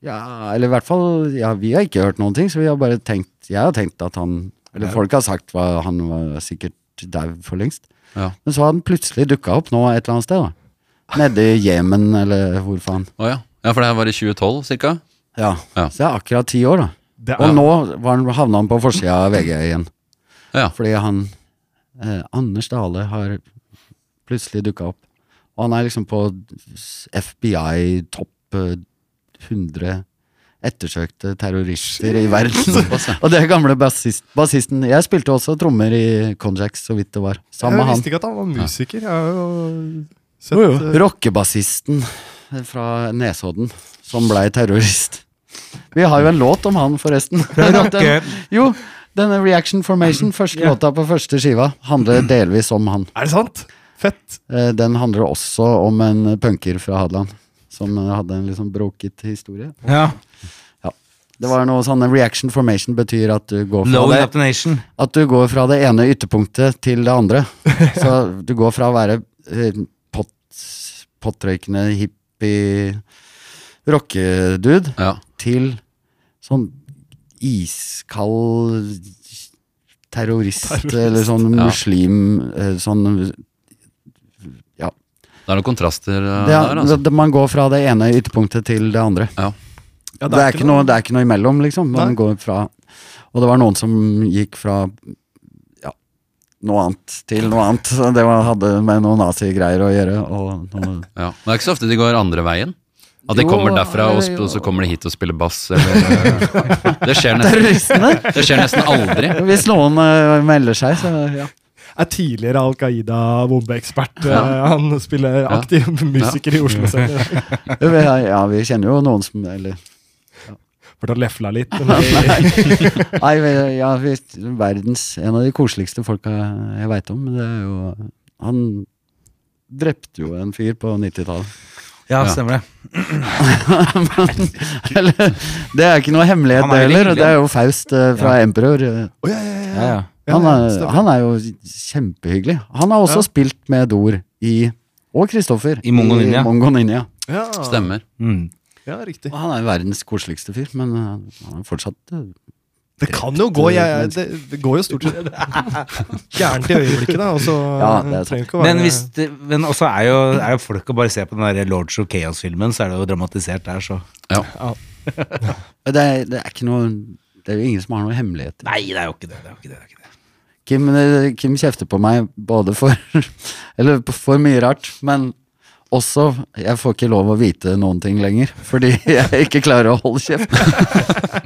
Ja, eller i hvert fall Ja, vi har ikke hørt noen ting, så vi har bare tenkt Jeg har tenkt at han Eller folk har sagt hva han var sikkert dau for lengst. Ja. Men så har han plutselig dukka opp nå et eller annet sted, da. Nede i Jemen, eller hvor faen. Å ja. ja, for det her var i 2012 cirka? Ja. Ja. Så jeg er akkurat ti år, da. Det Og er, nå var han, havna han på forsida av VG igjen. Ja. Fordi han eh, Anders Dale har plutselig dukka opp. Og han er liksom på FBI topp eh, 100 ettersøkte terrorister i verden. og det gamle bassist, bassisten Jeg spilte også trommer i Konjax, så vidt det var. Jeg Sammen med han. visste ikke at han var musiker. Jeg har jo sett Jo, jo. eh, Rockebassisten fra Nesodden som blei terrorist. Vi har jo en låt om han, forresten. Den, jo, denne Reaction Formation, første Ja. låta på første skiva, handler delvis om han. Er det sant? Fett. Eh, Den handler også om en punker fra Hadeland som eh, hadde en litt sånn broket historie. Ja. Det var noe sånn Reaction Formation betyr at du går fra Low det up the nation. at du går fra det ene ytterpunktet til det andre. Så du går fra å være eh, pott, pottrøykende hippie rockedude Ja. til sånn iskald terrorist, eller sånn Ja. muslim eh, Sånn Det er noen kontraster eh, det, der, altså. det, Man går fra det ene ytterpunktet til det andre. Ja, det, er ikke noe, det er ikke noe imellom, liksom. Man Nei. går fra Og det var noen som gikk fra ja, noe annet til noe annet. Så det var, hadde med noen nazigreier å gjøre. Og noe, Ja. Men det er ikke så ofte de går andre veien. At de Jo, kommer derfra, og, sp jo. og så kommer de hit og spiller bass. Eller, det, skjer nesten, terroristene! det skjer nesten aldri. Hvis noen eh, melder seg, så ja. er tidligere Al Qaida-bombeekspert. Ja. Eh, Han spiller aktiv musiker i Oslo. selv. Vi, har- ja, vi kjenner jo noen som Eller Burde ha lefla litt. Men Nei, vi, ja, vi, verdens En av de koseligste folka jeg veit om. Det er jo Han drepte jo en fyr på 90-tallet. Ja, Ja. stemmer det. Eller, det er ikke noe hemmelighet, Han det er jo heller. hyggelig, Det er jo Faust eh, fra Emperor. eh. Å, ja, ja, ja. Ja, Han, ja, er, stemmer. han er jo kjempehyggelig. Han har også Ja. spilt med Dor i og Kristoffer I Mongo Ninja. Mongo Ninja. Ja, Stemmer. Mm. ja, riktig. Og han er verdens koseligste fyr, men eh, han er fortsatt eh, Det kan jo gå. Jeg, jeg- det, det går jo stort sett gærent i øyeblikket, da. Og så Ja, det er sant. trenger ikke å være Men, hvis det, men også er jo, er jo folk å bare se på den der Lords of Chaos-filmen, så er det jo dramatisert der, så Ja. det er, det er ikke noe Det er jo ingen som har noen hemmeligheter. Nei, det er jo ikke det. det, er jo ikke det, det, er ikke det. Kim, eh, Kim kjefter på meg både for Eller på- for mye rart, men også Jeg får ikke lov å vite noen ting lenger, fordi jeg ikke klarer å holde kjeft.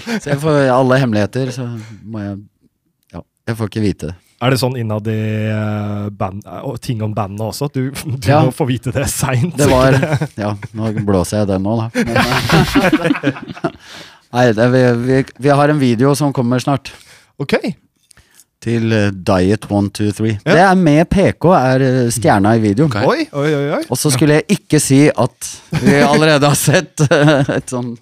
Så jeg får alle hemmeligheter, så må jeg Ja, jeg får ikke vite det. Er det sånn innad i eh, band, eh, og ting om bandet også? at Du, du Ja. må få vite det seint. Det var Ja, nå blåser jeg den nå, da. Men, eh, Nei, det, vi, vi, vi har en video som kommer snart. Ok. Til eh, Diet 123. Ja. Det er med PK, er eh, stjerna i videoen. Ok. Oi, oi, oi. oi. Og så skulle jeg ikke si at vi allerede har sett eh, et sånn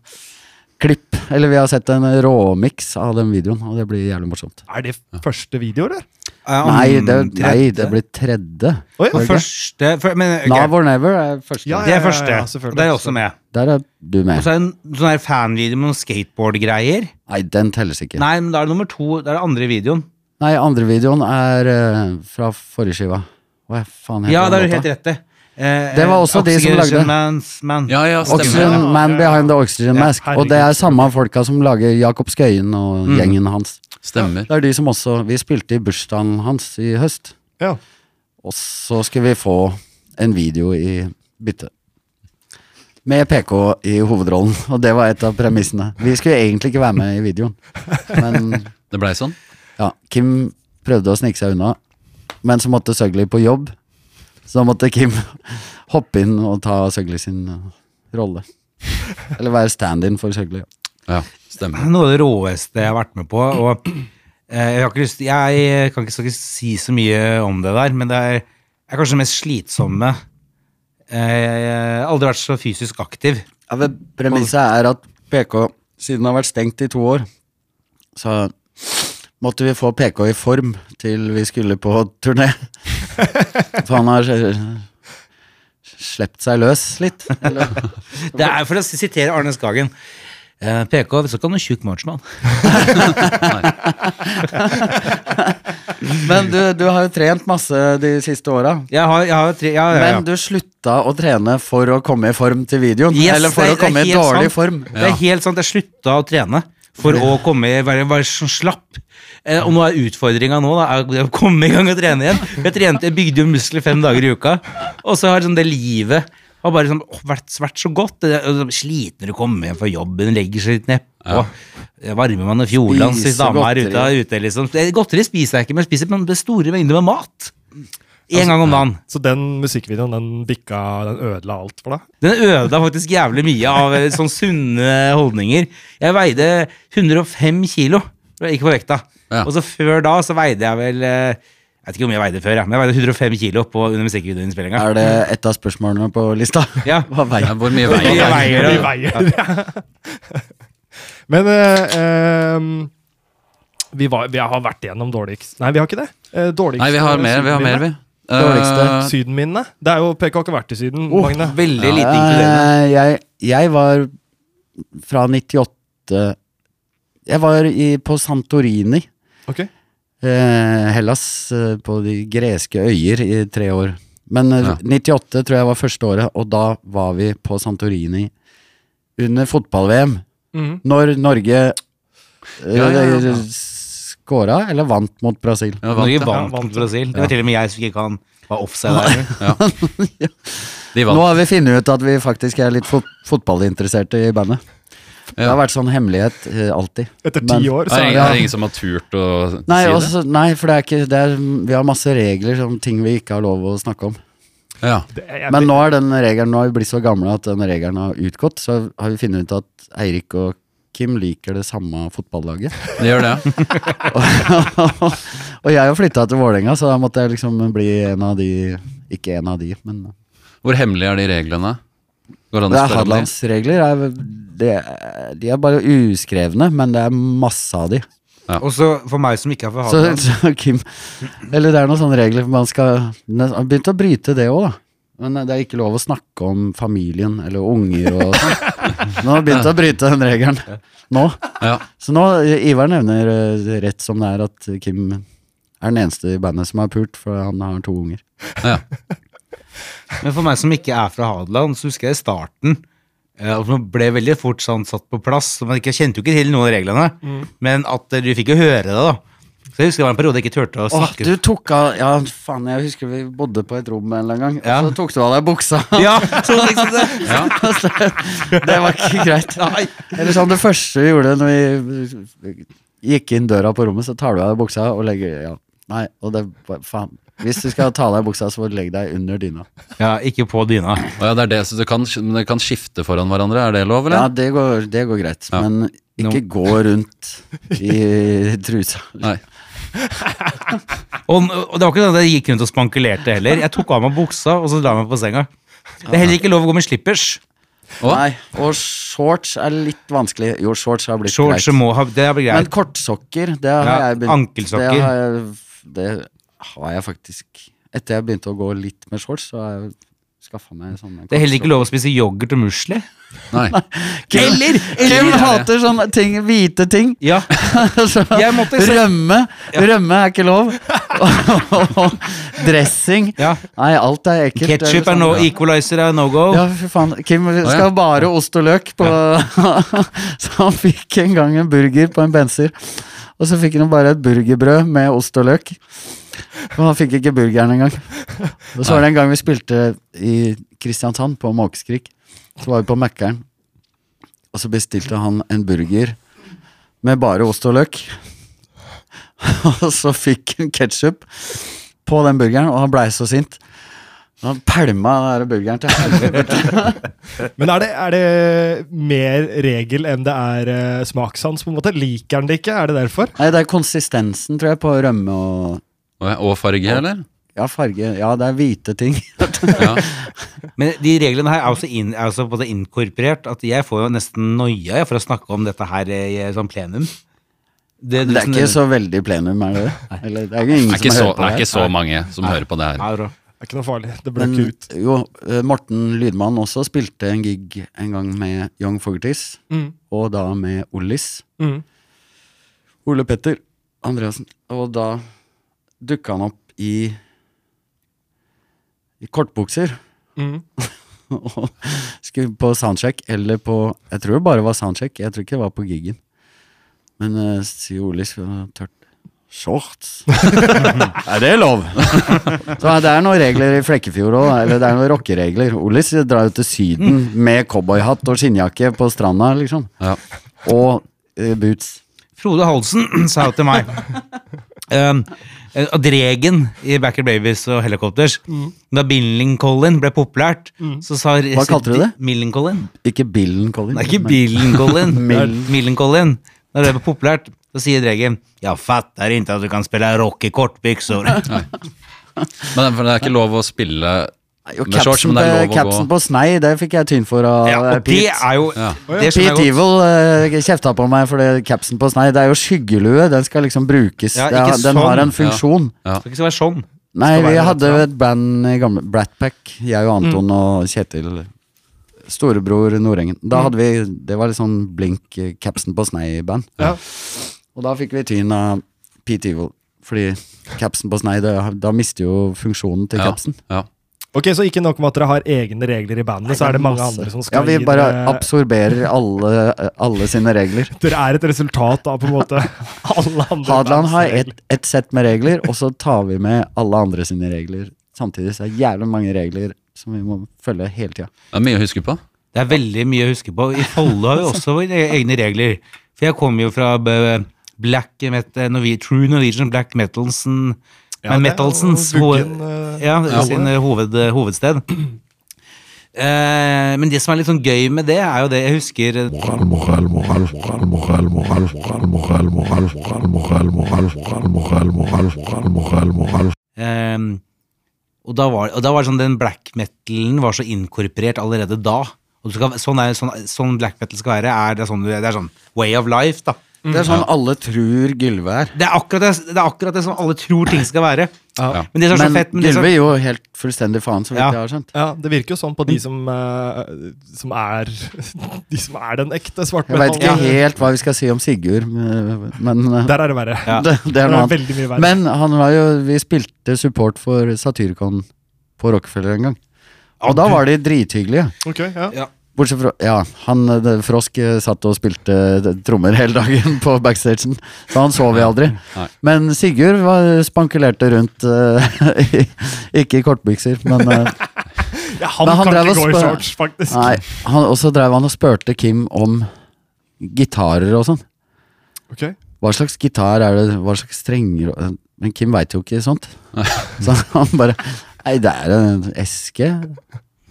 klipp. Eller vi har sett en råmiks av den videoen, og det blir jævlig morsomt. Er det første video, eller? Eh, om Nei, det, nei, tredje- det blir tredje. Å ja, Var det ikke? Første for, men, ok, Now or never er første. Ja, Det ja, er første. ja, selvfølgelig. det er også med. Der er du Og med. så er det en sånn her fanvideo med noen skateboardgreier. Nei, den telles ikke. Nei, men da er det nummer to. Det er det andre videoen. Nei, andre videoen er eh, fra forrige skiva. Hva faen heter Ja, det den er du helt rett i. Eh, Det var også de som Oxygen lagde. Man's Man. Ja, ja, stemmer. Oxygen Ja, Man ja, ja. Behind the Oxygen Ja, Mask. Og det er samme folka som lager Jakob Skøyen og Mm. gjengen hans. stemmer. Det er de som også Vi spilte i bursdagen hans i høst. Ja. Og så skal vi få en video i bytte. Med PK i hovedrollen, og det var et av premissene. Vi skulle egentlig ikke være med i videoen, men Det blei sånn. ja, Kim prøvde å snike seg unna. Men så måtte Søgli på jobb, så da måtte Kim hoppe inn og ta Søgli sin eh, rolle. Eller være stand-in for Søgli. Ja, stemmer. Noe av det råeste jeg har vært med på. Og eh, jeg, har ikke lyst, jeg kan ikke, skal ikke si så mye om det der, men det er, er kanskje det mest slitsomme. Eh, jeg har aldri vært så fysisk aktiv. Ja, men Premisset er at PK, siden det har vært stengt i to år, så måtte vi få PK i form til vi skulle på turné. For han har eh, slept seg løs litt. Eller? Det er for å sitere Arne Skagen. Eh, PK, vi skal ikke ha noen tjukk marchmann. Men du, du har jo trent masse de siste åra. Jeg har, jeg har tre, ja, ja, ja. Men du slutta å trene for å komme i form til videoen. Yes, eller for det- å det er komme i helt dårlig sant. form. Det er helt sant. Jeg slutta å trene for å komme i, være, være sånn slapp. Eh, og nå er utfordringa nå da, er å komme i gang og trene igjen. Jeg, trente, jeg bygde jo muskler fem dager i uka. Og så har sånn det livet Har bare liksom, åh, vært, vært så godt. Det, er- og sånn, sliten når du kommer hjem fra jobben, legger seg litt nedpå. Ja. Varmer man og fjordlands hvis Spiser dama er ute, godteri. ute liksom. Det- Godteri spiser jeg ikke, men jeg spiser med store mengder med mat. Altså, En gang om dagen. Så den musikkvideoen, den bikka, den ødela alt for deg? Den ødela faktisk jævlig mye av eh, sånn sunne holdninger. Jeg veide 105 kilo, ikke på vekta. Ja. Og så før da så veide jeg vel eh, Jeg vet ikke hvor mye jeg veide før, jeg, men jeg veide 105 kilo på, under musikkvideoinnspillinga. Er det et av spørsmålene på lista? Ja. Hva Ja, veier Hvor mye Hvor mye veier veier- Veier, det. veier. Men eh, ehm, vi, var, vi har vært gjennom dårligst Nei, vi har ikke det. Eh, dårligst Nei, vi har mer, vi. har mer vi Eh, Dårligste. Sydenminne. Det er jo PK har ikke vært i Syden, Magne. Veldig lite inkluderende. Eh, jeg, jeg var fra 98 Jeg var i, på Santorini, Ok. eh, Hellas, eh, på de greske øyer i tre år. Men eh, Ja. 98 tror jeg var første året, og da var vi på Santorini under fotball-VM. Mhm. Når Norge eh, Ja, ja, ja, ja. skåra eller vant mot Brasil. Ja, vant, Norge ja. vant Ja, mot vant. Brasil. Det var til og med jeg som ikke kan være offside der. De Nå vant. har vi funnet ut at vi faktisk er litt fot fotballinteresserte i bandet. Det Ja. har vært sånn hemmelighet eh, alltid. Etter Men- ti år, Det så er er ingen, det er ingen som har turt å Nei, altså- si også, nei for det er ikke det er, Vi har masse regler om ting vi ikke har lov å snakke om. det. Ja. det, jeg, Men nå er den regelen Nå har vi blitt så gamle at den regelen har utgått. Så har vi funnet ut at Eirik og Kim liker det samme fotballaget. De gjør det. ja. og jeg har flytta til Vålerenga, så da måtte jeg liksom bli en av de Ikke en av de, men Hvor hemmelige er de reglene? Går det Det an å er spørre om de? Hadelandsregler. er- det- De er bare uskrevne, men det er masse av de. Og så for meg som ikke er fra Så, Hadeland så Kim Eller det er noen sånne regler for man skal Han begynte å bryte det òg, da. Men det er ikke lov å snakke om familien eller unger og sånn. Nå har han begynt å bryte den regelen. Nå. Ja. Så nå, Ivar nevner eh, rett som det er at Kim er den eneste i bandet som har pult, for han har to unger. Men for meg som ikke er fra Hadeland, så husker jeg i starten eh, at man ble veldig fort sånn satt på plass. så Man ikke, kjente jo ikke til noen av reglene, Mm. men at eh, du fikk jo høre det, da. Så jeg husker det var en periode jeg ikke turte å Åh, snakke du tok av Ja, faen, jeg husker vi bodde på et rom en eller annen gang, Ja. og så tok du av deg buksa. Ja, så liksom det. Ja. Altså, det var ikke greit. Eller sånn, det første vi gjorde når vi gikk inn døra på rommet, så tar du av deg buksa og legger ja. Nei, og det var- faen. Hvis du skal ta av deg buksa, så må du legge deg under dyna. Ja, ikke på dyna. Og ja, det er det, så du kan, men dere kan skifte foran hverandre, er det lov, Ja, eller? det går, det går greit, Ja. men ikke gå rundt i trusa. Nei. Og, og det var ikke sånn at jeg gikk rundt og spankulerte heller. Jeg tok av meg buksa, og så la jeg meg på senga. Det er heller ikke lov å gå med slippers. Å? Nei, og shorts er litt vanskelig. Jo, shorts har blitt Shorts greit. må ha Det er Men greit. kortsokker, det har Ja, jeg begynt ankelsokker. Det har, jeg, det har jeg faktisk Etter jeg begynte å gå litt med shorts, så har jeg skaffa meg sånne. Det er heller ikke lov å spise yoghurt og musli. Nei. Eller! Kim hater sånne ting, hvite ting. Ja, Så jeg måtte se rømme. Rømme er ikke lov. Og Dressing. ja. Nei, alt er sånn- ekkelt. Ketchup er no equalizer er no go. Ja, fy faen. Kim skal bare ost og løk på Så han fikk en gang en burger på en benser. Og så fikk han bare et burgerbrød med ost og løk. Og han fikk ikke burgeren engang. Og så var det en gang vi spilte i Kristiansand, på Måkeskrik. Så var vi på Mækkern, og så bestilte han en burger med bare ost og løk. Og så fikk han ketsjup på den burgeren, og han blei så sint. Han pælma den der burgeren til helvete. men er det, er det mer regel enn det er eh, smakssans, på en måte? Liker han det ikke? Er det derfor? Nei, det er konsistensen, tror jeg, på rømme og Og og farge, eller? Ja, farge. Ja, det er hvite ting. Ja. Men de reglene her er også, inn, er også på en måte inkorporert at jeg får jo nesten noia jeg, for å snakke om dette her i sånn plenum. Det, Det er ikke så veldig plenum, er det det? Eller, det er jo ingen Det er ikke så, som hører på det er ikke det. så mange som hører på det her. Nei, bra. Det er ikke noe farlig. Det Men, blør ikke ut. jo, eh, Morten Lydmann også spilte en gig en gang med Young Fogertis, Mm. og da med Ollis. Mm. Ole Petter Andreassen. Og da dukka han opp i i kortbukser. Mm. og skulle på soundcheck eller på Jeg eh, tror det bare var soundcheck, jeg tror ikke det var på gigen. Men uh, sier Ole så tørt Shorts? er det lov? så det er noen regler i Flekkefjord òg, eller det er noen rockeregler. Ollis drar jo til Syden med cowboyhatt og skinnjakke på stranda, liksom. Ja. Og eh, boots. Frode Halsen sa jo til meg um, at Regen i Backer Babies og Helicopters Da Billincolin ble populært, så sa Hva kalte du det? Millincolin. Ikke Billen Collin. Det er ikke men- Billincolin. Mill- Millincolin. Da det ble populært, så sier Regen Jeg fatter ikke at du kan spille rock i kortbyksor. Men det er- for det er ikke lov å spille Jo, med shorts, capsen, men det er på, lov å capsen gå. på snei, det fikk jeg tyn for av Ja, eh, og det Pete. er jo Ja. det skjønner jeg Pete godt. Evil eh, kjefta på meg for det capsen på snei. Det er jo skyggelue, den skal liksom brukes. Ja, Det ikke har- den har sånn. en funksjon. Det skal ikke være sånn. Nei, Skal vi være hadde litt, ja. jo Mm. et band i gamle Bratpack. Jeg og Anton og Kjetil. Storebror Nordengen. Mm. Da hadde vi Det var litt sånn blink eh, capsen på snei-band. Ja. Og da fikk vi tyn av Pete Evil. Fordi capsen på snei, det, da mister jo funksjonen til Ja, capsen. ja. Ok, Så ikke nok med at dere har egne regler i bandet, så er det mange andre som eh, skal Ja, vi gi bare dere- absorberer alle, alle sine regler. Dere er et resultat av på en måte alle andre Hadeland bands har regler. ett et sett med regler, og så tar vi med alle andre sine regler samtidig. Så det er jævlig mange regler som vi må følge hele tida. Det er mye å huske på. Det er veldig mye å huske på. I Follo har vi også våre e- egne regler. For jeg kommer jo fra b- black metal, Norwe- True Norwegian Black Metalsen Ja, Men det er jo Metalsens Buggen, hoved, eh, ja, ja. sin hoved, hovedsted. Eh, men det som er litt sånn gøy med det, er jo det jeg husker moral, moral, moral, moral, moral, moral, moral, moral, moral, moral, moral, moral, moral, moral, moral, moral, moral. eh, og, da var, og da var det sånn den black metalen var så inkorporert allerede da. Og du skal, sånn, er, sånn, sånn black metal skal være, er, det, er sånn, det er sånn way of life, da. Det er sånn alle tror Gylve er. Det er akkurat det, det, er akkurat det som alle tror ting skal være. Ja. Men det som er Men så fett men det som, Gylve gir jo helt fullstendig faen, så vidt Ja. jeg har skjønt. Ja, Det virker jo sånn på de som, eh, som er De som er den ekte Jeg veit svartmetallen. ikke helt hva vi skal si om Sigurd, men men, Der er det verre. Ja. det, Det det er noe er annet. veldig mye verre. Men han var jo, vi spilte support for Satyricon på Rockefeller en gang. Og da var de drithyggelige. Ok, ja. ja. Bortsett fra Ja, han eh, det- Frosk eh, satt og spilte eh, trommer hele dagen på backstagen, så han så vi aldri. Nei. Men Sigurd var, eh, spankulerte rundt eh, i- Ikke i kortbukser, men eh, ja han, Men han kan ikke drev og gå i spør- shorts, faktisk. Nei. Han, og så drev han og spurte Kim om gitarer og sånn. Ok. Hva slags gitar er det, hva slags strenger og- Men Kim veit jo ikke sånt. Så han bare Nei, det er en eske,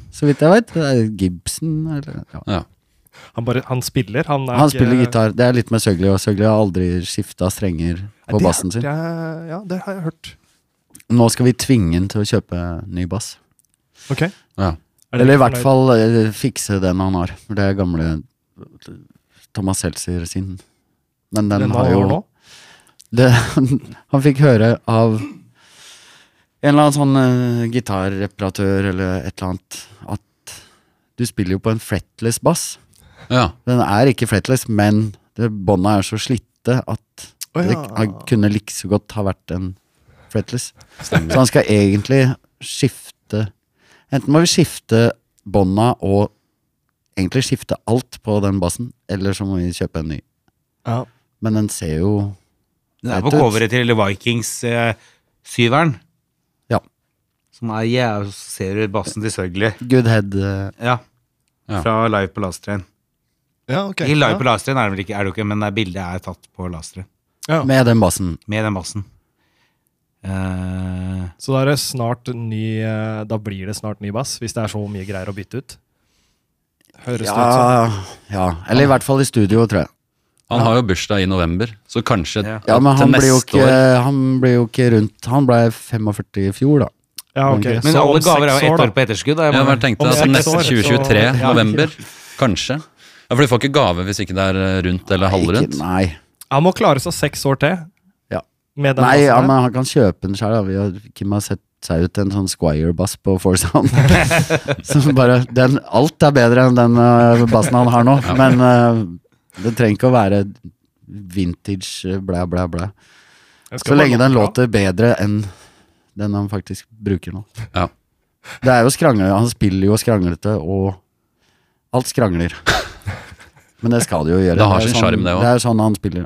så vidt jeg veit. Det er Gibson eller ja. Ja. Han, bare, han spiller. Han, er Han ikke- spiller gitar. Det er litt med Søgli, og Søgli har aldri skifta strenger Nei, på det bassen sin. hørte jeg- Ja, det har jeg hørt. Nå skal vi tvinge han til å kjøpe ny bass. Ok. Ja. Er Eller dere i fornøyd? hvert fall eh, fikse den han har. For Det er gamle eh, Thomas Seltzer sin. Men den, Den har han jo har nå? det, Han fikk høre av en eller annen sånn eh, gitarreparatør eller et eller annet at du spiller jo på en fretless bass. ja. Den er ikke fretless, men det- bånda er så slitte at Å, det ja. han kunne like så godt ha vært en fretless. Så han skal egentlig skifte Enten må vi skifte bånda og egentlig skifte alt på den bassen, eller så må vi kjøpe en ny. ja. Men den ser jo Den er Vet på du- coveret til Vikings-syveren. Ja. Som er jævlig Ser du bassen til Sørgelig? Good head eh, Ja. Ja. Fra Live på Last Train. Ja, ok. I Live Ja. på Last Train er det vel ikke, er det jo ikke men det bildet er tatt på Last Train. Ja. med den bassen. Med den bassen. Eh, Så da, er det snart ny, eh, da blir det snart ny bass, hvis det er så mye greier å bytte ut. Høres det ut som. Ja, ja, eller i hvert fall i studio, tror jeg. Han har jo bursdag i november, så kanskje Ja. Ja, men til han blir, jo neste ikke, år. han blir jo ikke rundt Han ble 45 i fjor, da. Ja, ok. men Så alle om gaver er seks jo år, ett da. år på etterskudd. da. Jeg Jeg må- bare tenkte Om altså, seks neste år, så- 2023, Ja. november. Kanskje. Ja, For du får ikke gave hvis ikke det er eh, rundt eller halvrundt. Ikke, nei. Han må klare seg seks år til. Ja. Med den nei ja, bassen der. men han kan kjøpe den sjøl. Vi har Kim har sett seg ut en sånn Squire-bass på Forsound. Som bare den, Alt er bedre enn den eh, bassen han har nå, men eh, det trenger ikke å være vintage eh, blæ, blæ, blæ. Jeg skal Så bare lenge den låte bra. låter bedre enn den han faktisk bruker nå. Ja. Det er jo skrangle, Han spiller jo skranglete, og alt skrangler. Men det skal det jo gjøre. Det har er sin sånn, sjarm, det også. er sånn han spiller.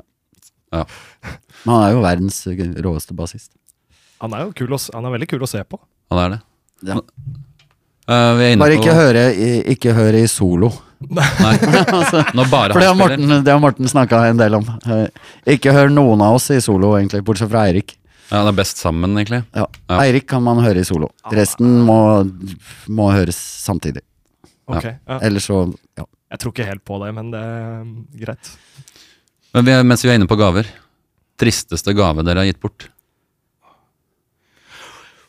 Men han er jo verdens eh, råeste bassist. Han er jo kul å, s- han er veldig kul å se på. Han er det. Ja. Eh, vi er inne Bare på ikke høre i, ikke høre i solo. Altså, Nei. Når bare For det har han spiller. Morten, det har Morten snakka en del om. Eh, Ikke hør noen av oss i solo, egentlig, bortsett fra Eirik. Ja, det er best sammen, egentlig. Ja. Ja. Eirik kan man høre i solo. Resten må, må høres samtidig. Ja. Ok, ja. Ellers så ja. Jeg tror ikke helt på det, men det er mm, greit. Men vi er, mens vi er inne på gaver Tristeste gave dere har gitt bort?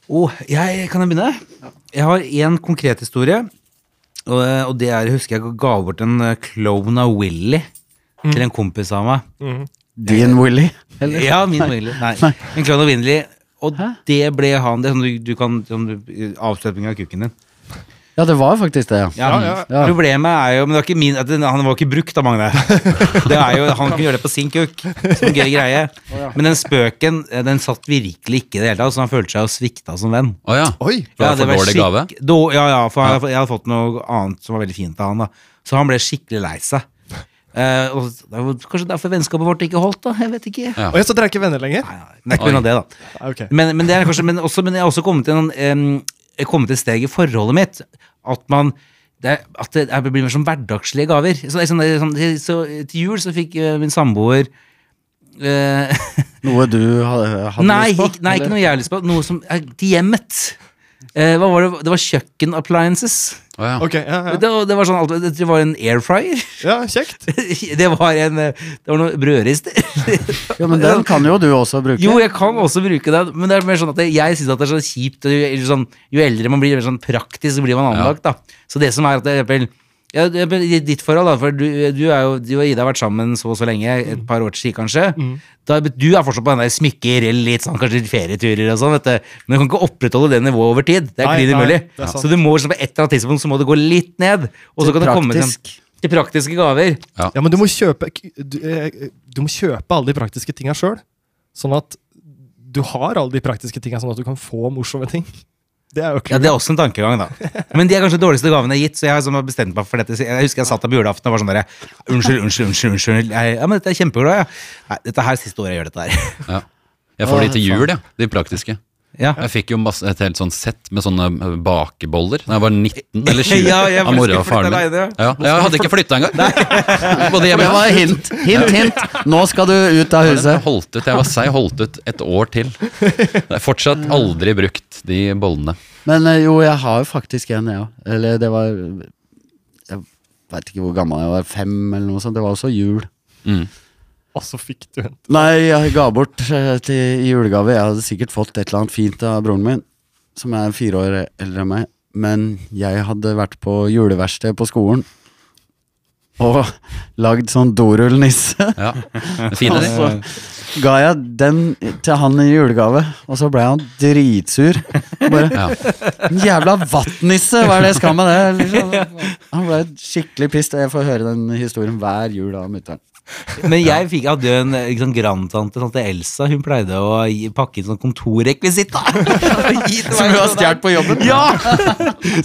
Oh, jeg, kan jeg begynne? Jeg har én konkret historie. Og, og det er, jeg husker jeg ga bort en eh, klovn av Willy til en kompis av meg. Dean Willy. Eller? Ja, min Willy. Nei. En klovn av Willy. Og det ble han. Det er sånn du, du kan sånn, du- Avstøpning av kukken din. Ja, det var faktisk det, ja. Ja, mm. ja, ja. Problemet er jo Men det var ikke min at den, Han var ikke brukt av Magne. Det er jo, Han kunne gjøre det på sin kukk. Som en gøy greie. Men den spøken eh, Den satt virkelig ikke i det hele tatt, så han følte seg jo svikta som venn. Å ja. Oi! For det var for dårlig gave? skikk- då- ja, ja, for jeg, jeg hadde fått noe annet som var veldig fint av han. da Så han ble skikkelig lei seg. Eh, og det var kanskje derfor vennskapet vårt ikke holdt, da. Jeg vet ikke. Ja. Og jeg så dere er ikke venner lenger? Nei, nei, men det er ikke på grunn av det, da. Nei, Ok. Men, men, det er kanskje, men, også, men jeg har også kommet til, en, em, jeg har kommet til et steg i forholdet mitt. At man det, er- at det, er- det blir mer som hverdagslige gaver. Så, det er sånn, det er sånn, så Til jul så fikk eh, min samboer eh, Noe du hadde, hadde nei, lyst på? ikke, nei, ikke eller? noe jeg har lyst på. Noe som er til hjemmet. Eh, hva var det? det var kjøkken appliances. Å ja. Ok, ja, ja. Det, var- det var sånn alt, det var en air fryer. ja kjekt. Det var en eh, Det var noen brødrister. Ja, men den kan jo du også bruke. Jo, jeg kan også bruke det, men det er mer sånn at det- jeg syns det er så kjipt. og Jo, eller sånn, jo eldre man blir, jo mer sånn praktisk så blir man anlagt, da. Så det som er at det, for eksempel, ja, det- i ditt forhold, da, for du, du er jo Du og Ida har vært sammen så og så lenge, Mm. et par år til kanskje. Da, du er fortsatt på den der smykker, litt sånn kanskje ferieturer og sånn, vet du. Men du kan ikke opprettholde det nivået over tid. Det er Nei, klin nei, umulig. det er sant. Så du må liksom på et eller annet tidspunkt så må det gå litt ned, og så Til kan det komme til praktisk. til praktiske gaver. Ja, men du må kjøpe Du, eh, du må kjøpe alle de praktiske tinga sjøl. Sånn at du har alle de praktiske tinga, sånn at du kan få morsomme ting. Det er jo Ja, klart. Det er også en tankegang, da. Men de er kanskje de dårligste gavene jeg har gitt. Så jeg har sånn bestemt meg for dette Jeg husker jeg satt der på julaften og var sånn derre Unnskyld, unnskyld, unnskyld. unnskyld jeg, Ja, men dette er kjempeglad, ja. Nei, dette her er siste året jeg gjør dette her. ja. Jeg får de til jul, ja. De praktiske. Ja. Jeg fikk jo masse, et helt sånn sett med sånne eh, bakeboller da jeg var 19 eller 20 Ja, jeg av mora og skulle faren flytte min. alene, Ja, jeg hadde ikke flytta engang. Både Det hjemme var hint, hint, hint. Nå skal du ut av Jeg huset. holdt ut, jeg var seig, holdt ut et år til. Det er fortsatt aldri brukt, de bollene. Men eh, jo, jeg har jo faktisk en, jeg ja. òg. Eller det var Jeg veit ikke hvor gammel jeg var. Fem, eller noe sånt. Det var også jul. Og så fikk du en. Nei, jeg ga bort eh, til i julegave. Jeg hadde sikkert fått et eller annet fint av broren min, som er fire år eldre enn meg. Men jeg hadde vært på juleverksted på skolen og lagd sånn dorullnisse. Ja, Fine, Og de. så ga jeg den til han i julegave, og så ble han dritsur. Bare Ja. En jævla vattnisse, hva er det jeg skal med det? Liksom. Han ble skikkelig pissed, og jeg får høre den historien hver jul av mutter'n. Men jeg fikk, hadde jo en ikke sånn grandtante, tante Elsa, hun pleide å gi, pakke inn sånn kontorrekvisitt. Som Som hun har stjålet på jobben. Ja!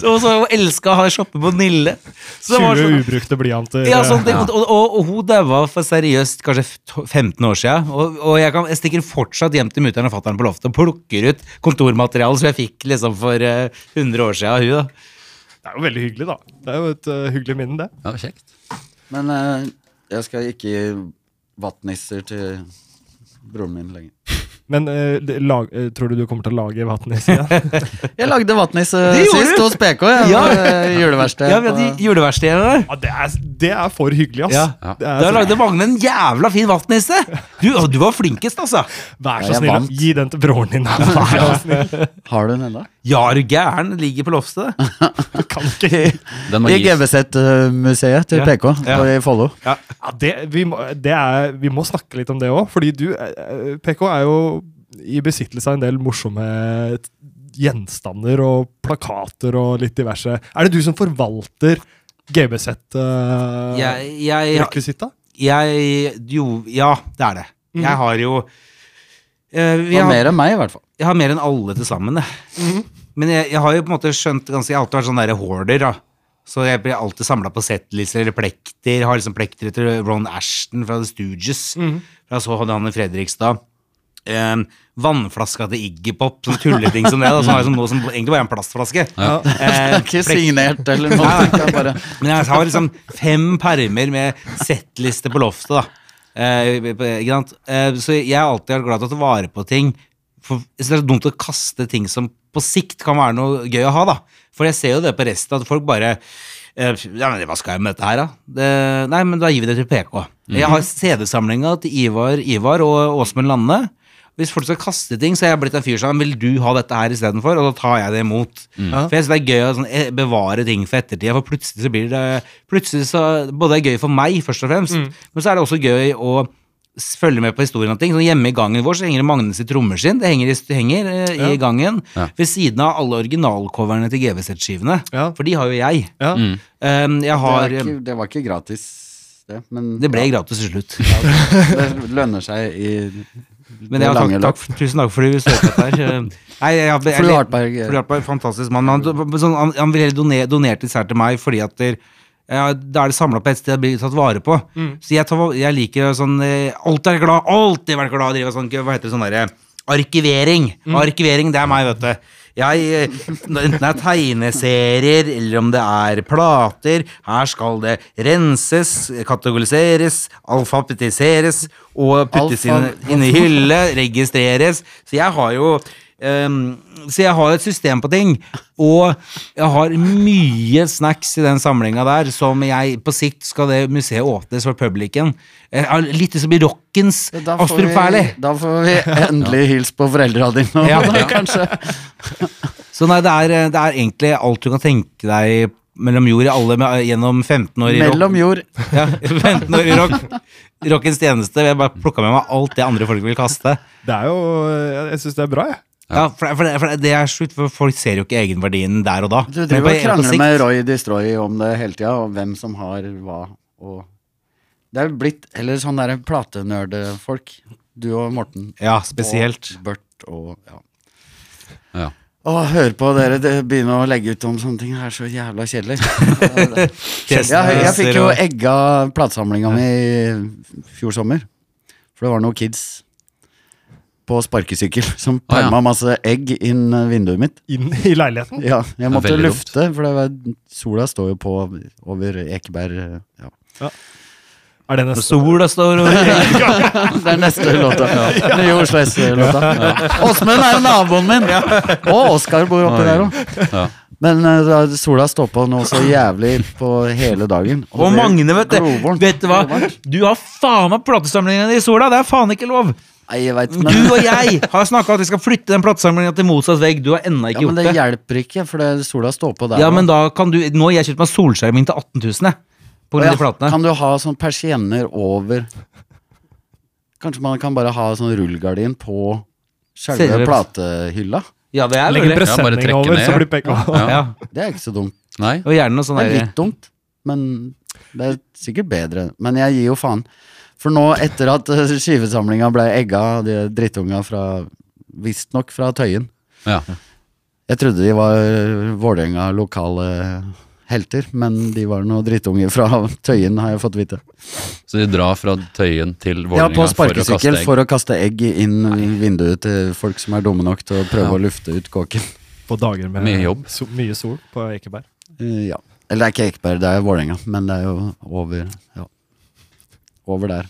Og så elska å ha shoppe på Nille. Så det var 20 sånn- ubrukte blyanter. Ja, sånn, det, og, og, og, og hun daua for seriøst kanskje f- to- 15 år siden. Og, og jeg, kan, jeg stikker fortsatt hjem til mutter'n og fatter'n på loftet og plukker ut kontormateriale som jeg fikk liksom for eh, 100 år siden av hun da. Det er jo veldig hyggelig, da. Det er jo et eh, hyggelig minne, det. Ja, kjekt. Men eh, jeg skal ikke gi vattnisser til broren min lenger. Men eh, det, lag, eh, tror du du kommer til å lage vann i sida? Jeg lagde vattnisse Det gjorde sist du! hos PK, jeg, Ja. på eh, juleverksted. Ja, vi hadde på- juleverkstedet der. ja, det, er- det er for hyggelig, ass. Ja. Ja. Det er Der så- lagde Magne en jævla fin vaktnisse! Du, å, du var flinkest, altså. Vær Ja, så jeg snill, vant. gi den til broren din. altså, da. Vær så snill. Har du den ennå? Ja, er du gæren? Ligger på loftet. Du kan ikke Den må I gis. GBZ-museet til Ja. PK Ja. i Follo. Ja, det, vi, må, det er, vi må snakke litt om det òg, fordi du, eh, PK, er jo i besittelse av en del morsomme t- gjenstander og plakater og litt diverse. Er det du som forvalter Jeg, GBZ-rekvisita? jeg, jeg Jo, ja, det er det. Jeg har jo eh, vi Og har- mer enn meg, i hvert fall. Jeg har mer enn alle til sammen, jeg. Men jeg, jeg har jo på en måte skjønt ganske, Jeg har alltid vært sånn derre hoarder, da. Så jeg blir alltid samla på settlister eller plekter. Har liksom plekter etter Ron Ashton fra The Stooges. Fra så hadde han i Fredrikstad. eh, vannflaska til Iggy Pop, sånne tulleting som det. Da, som er som noe som egentlig bare er en plastflaske. Ja. Eh, Ikke flekk- signert eller noe. Det er bare Men jeg har liksom fem permer med settliste på loftet, da. Eh, ikke sant? Eh, så jeg har alltid vært glad til å ta vare på ting. For jeg synes det er så dumt å kaste ting som på sikt kan være noe gøy å ha, da. For jeg ser jo det på resten, at folk bare eh, ja, men Hva skal jeg med dette her, da? Det, nei, men da gir vi det til PK. Jeg har CD-samlinga til Ivar, Ivar og Åsmund Lande. Hvis folk skal kaste ting, så er jeg blitt en fyr som vil du ha dette her istedenfor, og da tar jeg det imot. Mm. For jeg synes det er gøy å sånn, eh, bevare ting for ettertida, for plutselig så blir det Plutselig så Både er det gøy for meg, først og fremst, Mm. men så er det også gøy å s- følge med på historien og ting. Sånn, hjemme i gangen vår så henger det Magnus i trommer sin. Det henger, i, det henger eh, i gangen. Ja. Ved siden av alle originalcoverne til GBZ-skivene. Ja. For de har jo jeg. Ja. Mm. Um, jeg det, har var ikke, det var ikke gratis, det. Men Det ble gratis til slutt. det lønner seg i Men jeg, det takk, lange takk, tusen takk for du støtet der. Nei, jeg, jeg, jeg, Fru Hartberg, eh. Fru Hartberg, fantastisk mann. Han, sånn, han, han ville heller donere, donert disse her til meg, fordi at der, ja, da er det samla på et sted og blir tatt vare på. Mm. Så jeg, tar, jeg liker sånn eh, Alltid er glad, alltid vært glad i å drive sånn, hva heter det, sånn derre Arkivering. Mm. Arkivering, det er meg, vet du. Jeg, eh, enten det er tegneserier, eller om det er plater, her skal det renses, kategoriseres, alfabetiseres og puttes inn, Alfab- inn i hylle, registreres. Så jeg har jo ehm, så jeg har et system på ting, og jeg har mye snacks i den samlinga der som jeg På sikt skal det museet åpnes for publikum. Jeg har Litt som i rockens da får, Astrup vi, Fearnley. da får vi endelig hilse på foreldra dine. Ja. da, kanskje. Så nei, det er, det er egentlig alt du kan tenke deg mellom jord i alle gjennom 15 år i rock. Mellom jord. Ja, 15 år i rock. Rockens tjeneste. Jeg bare plukka med meg alt det andre folk vil kaste. Det er jo Jeg, jeg syns det er bra, jeg. Ja, for, for, for det er slutt, for folk ser jo ikke egenverdien der og da. Du Men på- driver og på sikt- krangler med Roy Destroy om det hele tida, og hvem som har hva og Det er jo blitt eller sånn derre platenerdfolk. Du og Morten. Ja, spesielt. Og Bert og ja. Ja. Å, høre på dere det begynne å legge ut om sånne ting, det er så jævla kjedelig. Jeg, jeg fikk jo og- egga platesamlinga mi i fjor sommer. For det var noen kids på sparkesykkel som Ah, ja. pælma masse egg inn vinduet mitt. Inn i leiligheten. Ja, jeg måtte veldig dumt. lufte, for det var, sola står jo på over Ekeberg. Ja. Er det neste? Sola står over Det er neste låta. Nye Oslo S-låta. Åsmund er naboen min! Og Oskar bor oppi der òg. Ja. Men eh, da- sola står på nå så jævlig på hele dagen. Og det blir Magne, vet du. glovarmt. Vet du hva? Du har faen meg platesamlinga di i sola! Det er faen ikke lov! Nei, jeg vet, men, Du og jeg har snakka at vi skal flytte den platesamlinga til motsatt vegg. Du har ennå ja, ikke men det gjort det. hjelper ikke, for det, sola står på der. Ja, nå. men da kan du Nå har jeg kjøpt meg solskjerming til 18 000, jeg. På grunn Å av ja, de platene. Kan du ha sånn persienner over Kanskje man kan bare ha sånn rullgardin på Selve- selve platehylla? Ja, det er Legg en mulig. Ja, bare presenning trekke over, ned, så ja. blir peka. Ja. Ja, Det er ikke så dumt. Nei. og gjerne noe sånn Det er der litt dumt, men det er sikkert bedre. Men jeg gir jo faen. For nå, etter at eh, skivesamlinga ble egga av de drittunga fra Visstnok fra Tøyen. Ja. Jeg trodde de var Vålerenga lokale helter, men de var noen drittunger fra Tøyen, har jeg fått vite. Så de drar fra Tøyen til Ja, Vålerenga for på å kaste sparkesykkel egg. for å kaste egg inn i vinduet til folk som er dumme nok til å prøve å lufte ut kåken. På dager med Mye jobb. So, mye sol på Ekeberg. Eh, ja. Eller det er ikke Ekeberg, det er Vålerenga, men det er jo over ja. Over der.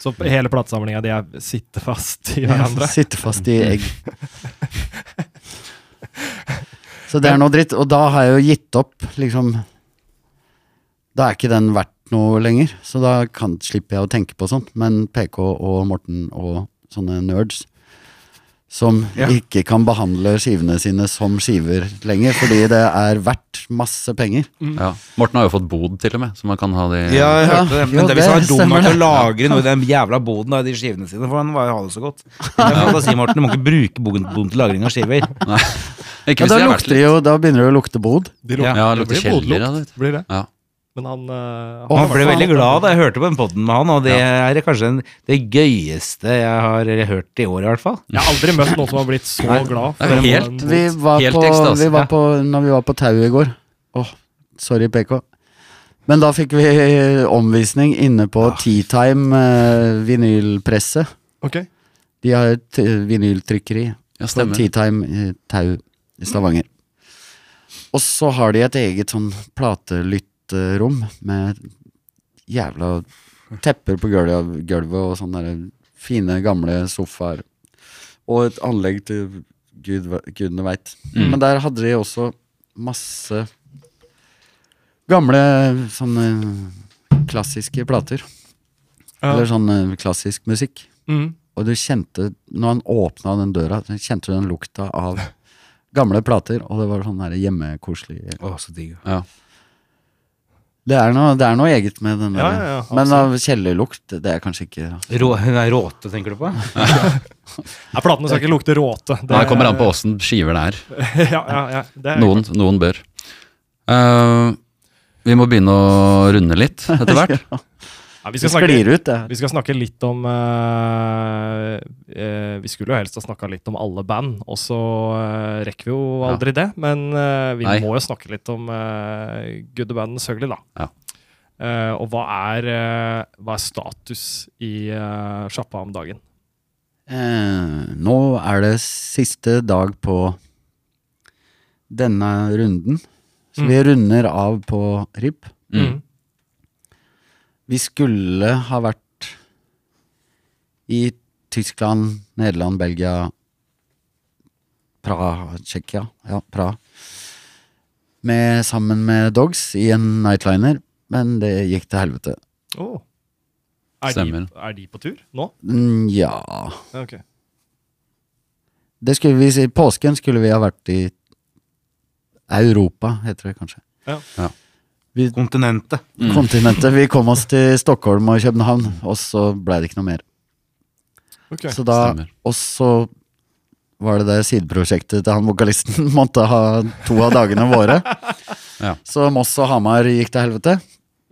Så p- hele platesamlinga di er- sitter fast i hverandre. Sitter fast i egg. Så det er noe dritt. Og da har jeg jo gitt opp, liksom Da er ikke den verdt noe lenger, så da kan, slipper jeg å tenke på sånt. Men PK og Morten og sånne nerds som ikke kan behandle skivene sine som skiver lenger, fordi det er verdt masse penger. Ja. Morten har jo fått bod, til og med, så man kan ha de Ja, jeg Ja, hørte det. jo, Men det er hvis han er det dum stemmer nok til å det. lagre noe i den jævla boden av de skivene sine, for han var- har det så godt. Det er fantasi, Morten. Du må ikke bruke boden boden til lagring av skiver. Ikke Ja, hvis de er da, verdt lukter det litt. jo, da begynner det å lukte bod. De Ja, Ja, det blir lukter kjeller bodlukt, av det. Blir det. Ja. Men han, eh, Og Å, han ble faen. veldig glad da jeg hørte på den podden med han, og det er kanskje en, det gøyeste jeg har hørt i år, i hvert fall. Jeg har aldri møtt noen som har blitt så glad. det er en- helt- en- Vi var, Helt på, altså. ekstase, vi var ja. på Når vi var på tau i går Åh, sorry PK Men da fikk vi Ah. omvisning inne på Tea Time eh, vinylpresse Ok. eh, De har et eh, vinyltrykkeri Ja, på stemmer. Teatime eh, Tau i Stavanger. Og så har de et eget sånn platelytterom med jævla tepper på gulvet, gulvet og sånne der fine, gamle sofaer. Og et anlegg til gud, gudene veit. Mm. Men der hadde de også masse gamle sånne klassiske plater. Ja. Eller sånn eh, klassisk musikk. Mm. Og du kjente, når han åpna den døra, så kjente du den lukta av gamle plater, og det var sånn her hjemmekoselig Å, så digg. Ja. det er, noe, det er noe eget med den der. Ja, ja, ja, Men av kjellerlukt, det er kanskje ikke Rå, nei, råte, tenker du på? Nei, platene skal ikke lukte råte. Det kommer an på åssen skiver det er. ja, ja, ja. Det er, Noen, noen bør. Eh, vi må begynne å runde litt etter hvert. Nei, vi, Det skal snakke, sklir ut, det. vi skal snakke litt om eh, eh, Vi skulle jo helst ha snakka litt om alle band, og så eh, rekker vi jo aldri det. Men eh, vi Nei. må jo snakke litt om uh, Goodie-bandet Søgli, da. Ja. Eh, og hva er, eh, hva er status i eh, sjappa om dagen? Eh, nå er det siste dag på denne runden. Så vi Mm. runder av på RIB. Mm. Vi skulle ha vært i Tyskland, Nederland, Belgia, Praha, Tsjekkia, ja, Praha. Med, sammen med Dogs i en nightliner, men det gikk til helvete. Åh. Er, de, Stemmer. er de på tur nå? Nja Ja, ok. Det skulle vi si. Påsken skulle vi ha vært i Europa, heter det kanskje. Kontinentet. Kontinentet. Vi kom oss til Stockholm og København, og så ble det ikke noe mer. Ok. Så da, Stemmer. og så var det det sideprosjektet til han vokalisten måtte ha to av dagene våre. Ja. Så Moss og Hamar gikk til helvete.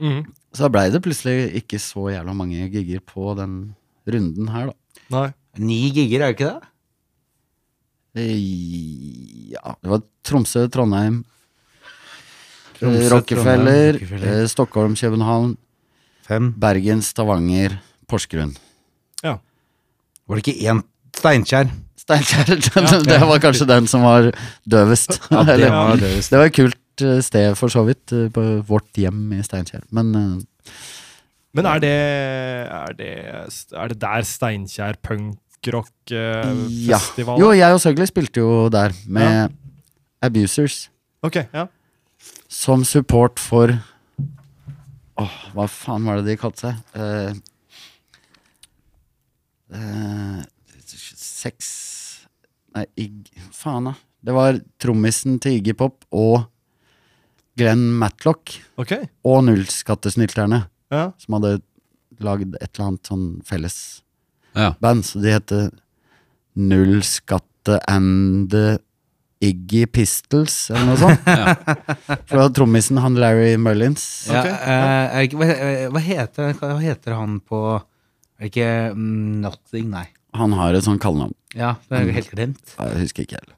Mhm. Så da blei det plutselig ikke så jævla mange gigger på den runden her, da. Nei. Ni gigger, er det ikke det? Eh, Ja, det var Tromsø, Trondheim, eh, Tromsø, Rockefeller, Trondheim, Rockefeller. eh, Stockholm, København, Fem. Bergen, Stavanger, Porsgrunn. Ja. Var det ikke én Steinkjer? Steinkjer, det var kanskje den som var døvest. Eller- var Så Det var et kult eh, sted for så vidt, eh, på vårt hjem i Steinkjer. Men eh, Men er det, er det, er det der Steinkjer eh, ja. punkrock-festival Jo, jeg og Søgli spilte jo der med Abusers Ok, ja. som support for Åh, hva faen var det de kalte seg? Eh, eh, Sex Nei, Ig... Faen, da. Det var trommisen til Iggy Pop og Glenn Matlock Ok, og Nullskattesnylterne. ja. som hadde lagd et eller annet sånn felles Ja. band. Så de heter Null Skatte and the Iggy Pistols, eller noe sånt. For da trommisen, han Larry Merlins Ja, Ok, eh, er det ikke, hva, eh, hva, heter, hva heter han på Er det ikke mm, Nothing, nei. Han har et sånt kallenavn. Ja, det er helt glemt. Jeg husker ikke heller.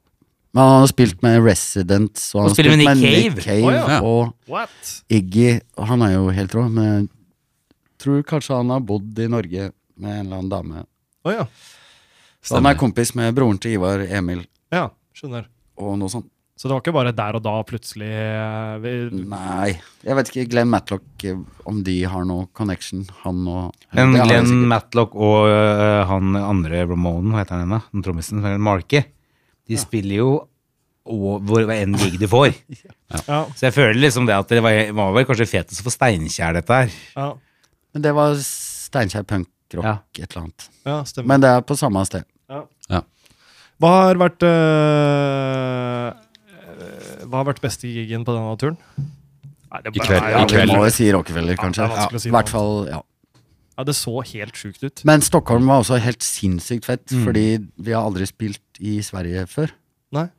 Men han har spilt med Residents, og han Og har spiller spilt med med Nick Nick Cave, Å, ja. og What? Iggy. Og han er jo helt rå, men jeg tror kanskje han har bodd i Norge med en eller annen dame. Å ja. Så han Stemmer. er kompis med broren til Ivar Emil, ja, skjønner. og noe sånt. Så det var ikke bare der og da plutselig eh, vi- Nei, jeg vet ikke. Glenn Matlock, eh, om de har noe connection, han og Men Det har de Glenn sikkert. Matlock og eh, han andre Ramonen, hva heter han ennå? Den trommisen, eller Marky. De spiller jo og hvor hva enn gig de får. Ja, Så jeg føler liksom det at det var, var vel kanskje fetest for Steinkjer, dette her. ja, Men det var Steinkjer punkrock, Ja. et eller annet. ja stemmer. Men det er på samme sted. hva har vært eh, eh, Hva har vært beste gigen på denne turen? Nei, det I kveld- Nei, i Ja, ja, vi kveld. må jo si Rockefeller, kanskje. det er vanskelig å si I noe hvert fall, ja. Ja, det så helt sjukt ut. Men Stockholm var også helt sinnssykt fett, fordi vi har aldri spilt i Sverige før. Nei.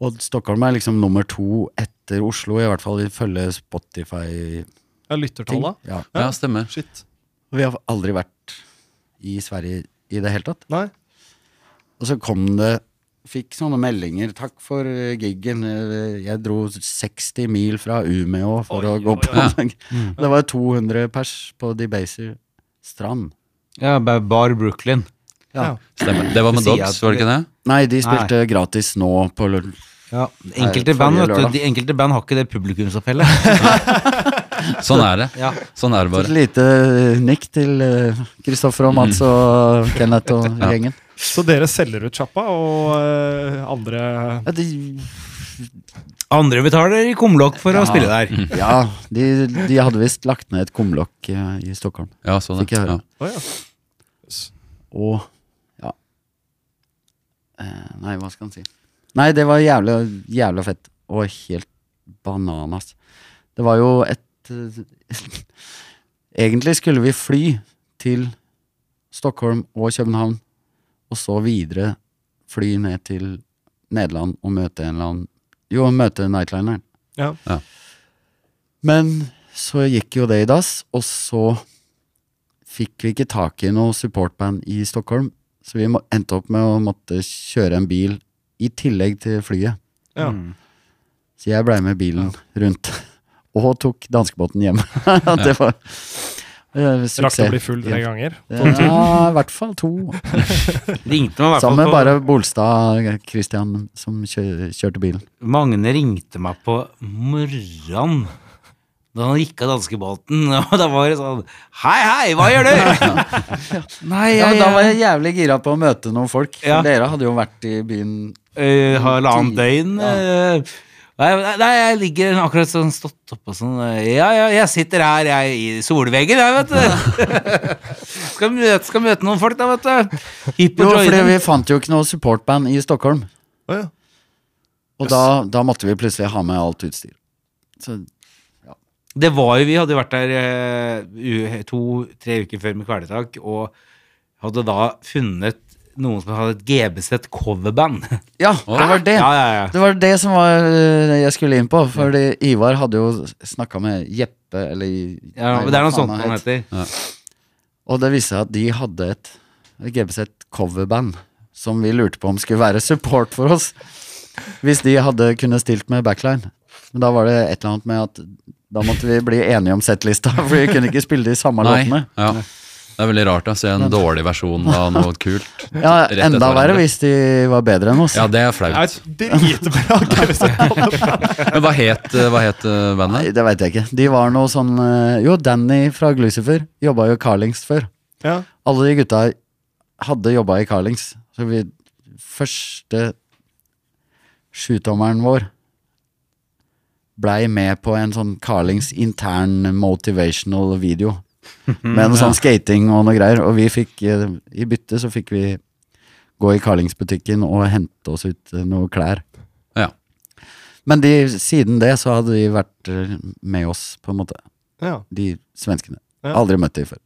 Og Stockholm er liksom nummer to etter Oslo, i hvert fall ifølge Spotify-ting. Ja, Lyttertalla? Ja. Ja, stemmer. Shit. Vi har aldri vært i Sverige i det hele tatt. Nei? Og så kom det Fikk sånne meldinger. 'Takk for eh, giggen. Eh, Jeg dro 60 mil fra Umeå for Oi, å gå oi, på oi. den.» Det var 200 pers på Debaser Strand. Ja, Bar Brooklyn. Ja. Stemmer. Det var med Du sier Dogs, at- var det ikke det? Nei, de spilte gratis nå på lø- Ja, Nei, enkelte, band, forrige vet du, lørdag. de enkelte band har ikke det publikumsopphellet. Sånn er det. Ja. Sånn er det Et bare. lite nikk til eh, Kristoffer og Mats og Kenneth og gjengen. Så dere selger ut sjappa, og eh, andre Ja, de, Andre betaler i kumlokk for å Ja. spille der. ja, de, de hadde visst lagt ned et kumlokk eh, i Stockholm. Ja, sånn Fikk jeg ja. Å høre. ja. Og ja. Eh, Nei, hva skal en si? Nei, det var jævla, jævla fett. Og helt bananas. Det var jo et eh, Egentlig skulle vi fly til Stockholm og København, og så videre fly ned til Nederland og møte en eller annen Jo, møte Nightlineren. Ja. Ja. Men så gikk jo det i dass, og så fikk vi ikke tak i noe supportband i Stockholm, så vi må- endte opp med å måtte kjøre en bil i tillegg til flyet. Ja. Så jeg blei med bilen rundt, og tok danskebåten hjem. det var eh, Rakk å suksess. bli full tre ganger. Ja, i hvert fall to. Ringte meg i hvert fall Sammen med på- bare Bolstad Christian som kjø kjørte bilen. Magne ringte meg på morgenen da han gikk av danskebåten. Og da var det sånn Hei, hei, hva gjør du? Nei, Ja, jeg, men Da var jeg jævlig gira på å møte noen folk. For Ja. Dere hadde jo vært i byen eh, halvannet døgn. Ja. eh, Nei, nei, jeg ligger akkurat sånn stått opp og sånn eh, Ja, ja, jeg sitter her, jeg, i solveggen, jeg, vet du. skal, møte, skal møte noen folk, da, vet du. Hipp Jo, og fordi joine. vi fant jo ikke noe supportband i Stockholm. Å ja. Og da, da måtte vi plutselig ha med alt utstyr. Så Det var jo, vi hadde jo vært eh, der to-tre uker før med kvelertak, og hadde da funnet noen som hadde et GBZ coverband. Ja, det var det. Ja, ja, ja. Det var det som var øh, jeg skulle inn på. Fordi Ivar hadde jo snakka med Jeppe, eller ja nei, det er noe hva faen sånt han heter. Og det viste seg at de hadde et GBZ coverband som vi lurte på om skulle være support for oss. Hvis de hadde kunnet stilt med backline. Men da var det et eller annet med at da måtte vi bli enige om settlista, for vi kunne ikke spille de samme Nei. låtene. Ja. Det er veldig rart å se en dårlig versjon av noe kult. Ja, Rett etter Enda verre hverandre. hvis de var bedre enn oss. Ja, det er Det flaut. er et dritbra GBZ-navn. Men hva het, eh, hva het eh, bandet? Nei, det veit jeg ikke. De var noe sånn eh, Jo, Danny fra Glucifer jobba jo i Carlings før. Ja. Alle de gutta hadde jobba i Carlings. Så vi Første sjutommeren vår blei med på en sånn Carlings intern motivational video. Med noe sånn skating og noe greier. Og vi fikk eh, I bytte så fikk vi gå i Carlings-butikken og hente oss ut eh, noe klær. Ja. Men de, siden det så hadde de vært eh, med oss, på en måte. ja. De svenskene. Ja. Aldri møtt de før.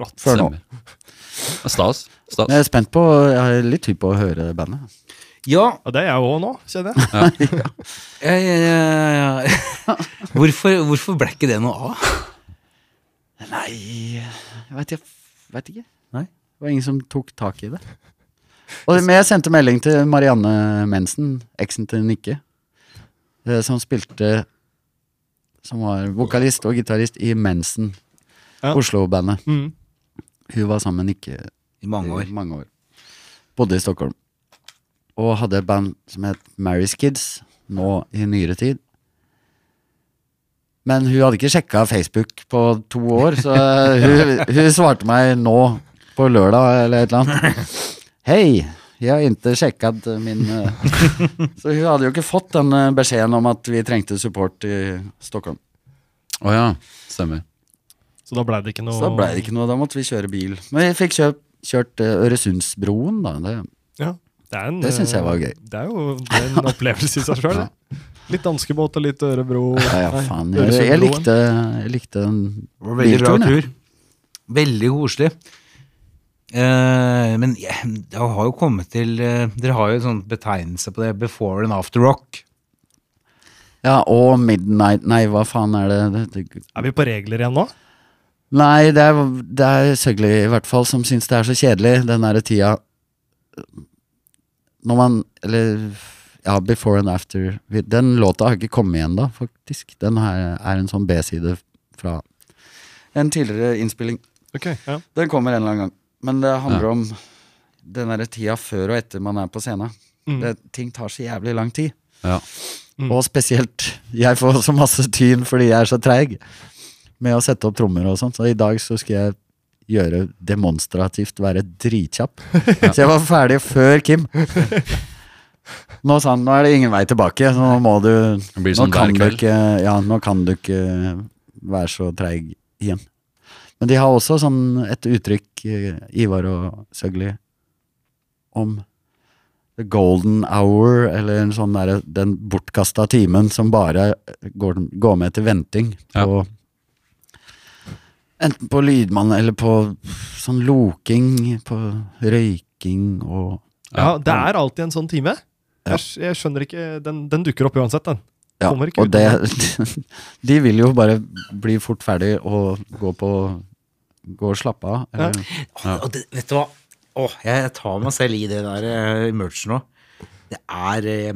Rått. Før nå. Stemmer. Stas. Stas. Men jeg er spent på Jeg er litt hypp på å høre bandet. Ja, Og det er jeg òg nå, kjenner jeg. ja, ja, ja, ja. Hvorfor, hvorfor ble ikke det noe av? Nei Jeg veit ikke. Nei. Det var ingen som tok tak i det. Og, men jeg sendte melding til Marianne Mensen, eksen til Nikke, eh, som spilte Som var vokalist og gitarist i Mensen, Ja. Oslo-bandet. Mm. Hun var sammen med Nikke I mange år. I mange år. Bodde i Stockholm. Og hadde et band som het Mary's Kids, nå i nyere tid. Men hun hadde ikke sjekka Facebook på to år, så eh, hun, hun svarte meg nå på lørdag eller et eller annet. Hei, jeg har ikke sjekket min eh». Så hun hadde jo ikke fått den eh, beskjeden om at vi trengte support i Stockholm. Å ja, stemmer. Så da blei det ikke noe Så da ble det ikke noe, da måtte vi kjøre bil. Men vi fikk kjøpt, kjørt eh, Øresundsbroen, da. Det, Ja. Det, er en, Det synes jeg var gøy. Det er jo det er en opplevelse i seg sjøl. Litt danskebåt og litt Ørebro. Ja, ja, Nei, faen. Jeg, jeg, Øresundbroen. likte, jeg likte den Det var veldig bra bilturen, jeg. tur. Veldig koselig. Eh, men jeg, jeg har jo kommet til eh, Dere har jo en sånn betegnelse på det. Before and after rock. Ja, og Midnight Nei, hva faen er det? det, det Er vi på regler igjen nå? nei, det er, det er Søgli i hvert fall som syns det er så kjedelig, den derre tida Når man Eller ja, Before and After. Vi- Den låta har ikke kommet igjen, da, faktisk. Den her er en sånn B-side fra en tidligere innspilling. Ok, ja. Den kommer en eller annen gang. Men det handler om den derre tida før og etter man er på scenen. Mm. Det, ting tar så jævlig lang tid. Mm. Ja. Og spesielt Jeg får så masse tyn fordi jeg er så treig med å sette opp trommer og sånt. Så i dag så skal jeg gjøre demonstrativt være dritkjapp. Så jeg var ferdig før Kim. Nå sa han nå er det ingen vei tilbake, så nå må du Det blir nå, sånn hver kan du kveld. ikke, ja, nå kan du ikke være så treig igjen. Men de har også sånn et uttrykk, eh, Ivar og Søgli, om the golden hour, eller en sånn derre den bortkasta timen som bare går, går med til venting Ja. på Enten på lydmann eller på sånn loking, på røyking og Ja, Ja. det er alltid en sånn time. Ja. Jeg, sk- jeg skjønner ikke Den, den dukker opp uansett, den. Ja, Kommer ikke og ut av det, de vil jo bare bli fort ferdig og gå på Gå og slappe av. Eh, eller- Ja. Og det, vet du hva? Åh, jeg tar meg selv i det der eh, merchen nå. Det er eh,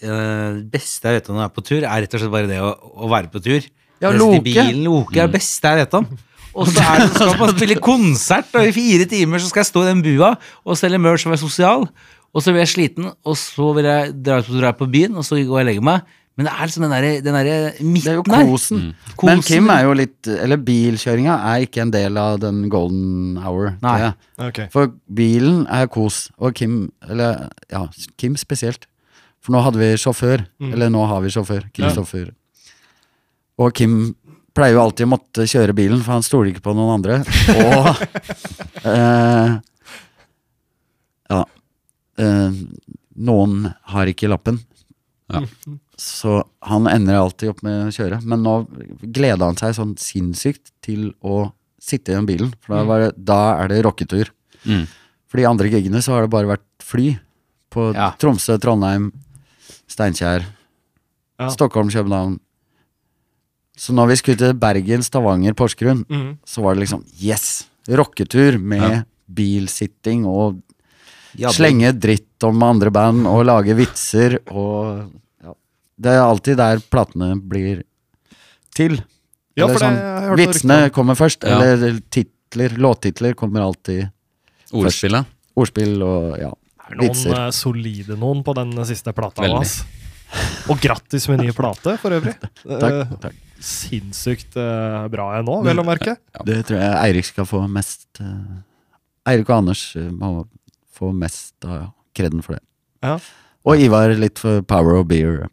eh, Det beste jeg vet om når jeg er på tur, er rett og slett bare det å, å være på tur. Ja, Reise loke. til bilen, loke er det beste jeg vet om. Og så er det, skal man spille konsert, og i fire timer så skal jeg stå i den bua og selge merch og være sosial. Og så blir jeg sliten, og så vil jeg dra ut på, dra på byen, og så går jeg og legger meg. Men det er liksom den derre den derre Det er jo midten her. kosen. Kosen. Men Kim er jo litt Eller bilkjøringa er ikke en del av den golden hour. Nei. tror jeg. Ok. For bilen er kos, og Kim Eller ja, Kim spesielt. For nå hadde vi sjåfør. Eller nå har vi sjåfør. Kristoffer. Og Kim pleier jo alltid å måtte kjøre bilen, for han stoler ikke på noen andre. Og eh, Ja. Eh, noen har ikke lappen. Ja. Så han ender alltid opp med å kjøre. Men nå gleda han seg sånn sinnssykt til å sitte i den bilen, for da, var det, da er det rocketur. Mm. For de andre gigene så har det bare vært fly på Ja. Tromsø, Trondheim, Steinkjer, Ja. Stockholm, København. Så når vi skulle til Bergen, Stavanger, Porsgrunn, Mhm. så var det liksom yes! Rocketur med bilsitting og Ja, det- slenge dritt om andre band og lage vitser og ja. Det er alltid der platene blir til. Ja, Eller for det- sånn, jeg har hørt noe vitsene rykte kommer først, Ja. eller titler, låttitler kommer alltid. Ordspillet. Ordspill og ja, Det er noen vitser. eh, solide noen på den siste plata. Veldig. Ass. Og grattis med ny plate, for øvrig. Takk, Eh, takk. Mm. Sinnssykt eh, bra jeg nå, vel å merke. Det tror jeg Eirik skal få mest eh, Eirik og Anders eh, må få mest av kreden for det. Ja. Og Ivar litt for Power of Beer.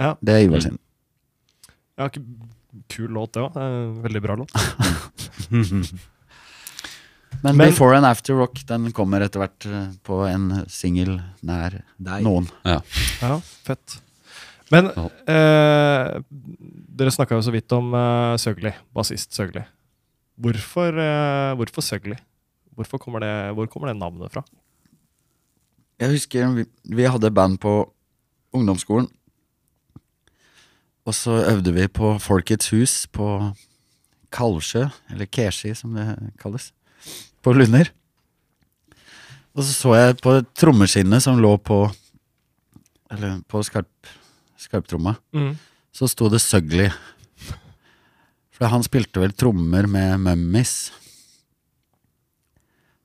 Ja. Det er Ivar sin. Ja, k- kul låt, det òg. Veldig bra låt. Men, Men- Before and After Rock den kommer etter hvert eh, på en singel nær Deg. noen. Ja, fett. Men Ja. eh, dere snakka jo så vidt om eh, Søgli, bassist Søgli. Hvorfor, eh, hvorfor Søgli? Hvorfor kommer det, hvor kommer det navnet fra? Jeg husker vi, vi hadde band på ungdomsskolen. Og så øvde vi på Folkets hus på Kalvsjø, eller Keshi som det kalles, på Lunder. Og så så jeg på trommeskinnet som lå på Eller på skarp, skarptromma. Mm. Så sto det Søgli. For han spilte vel trommer med Mummies.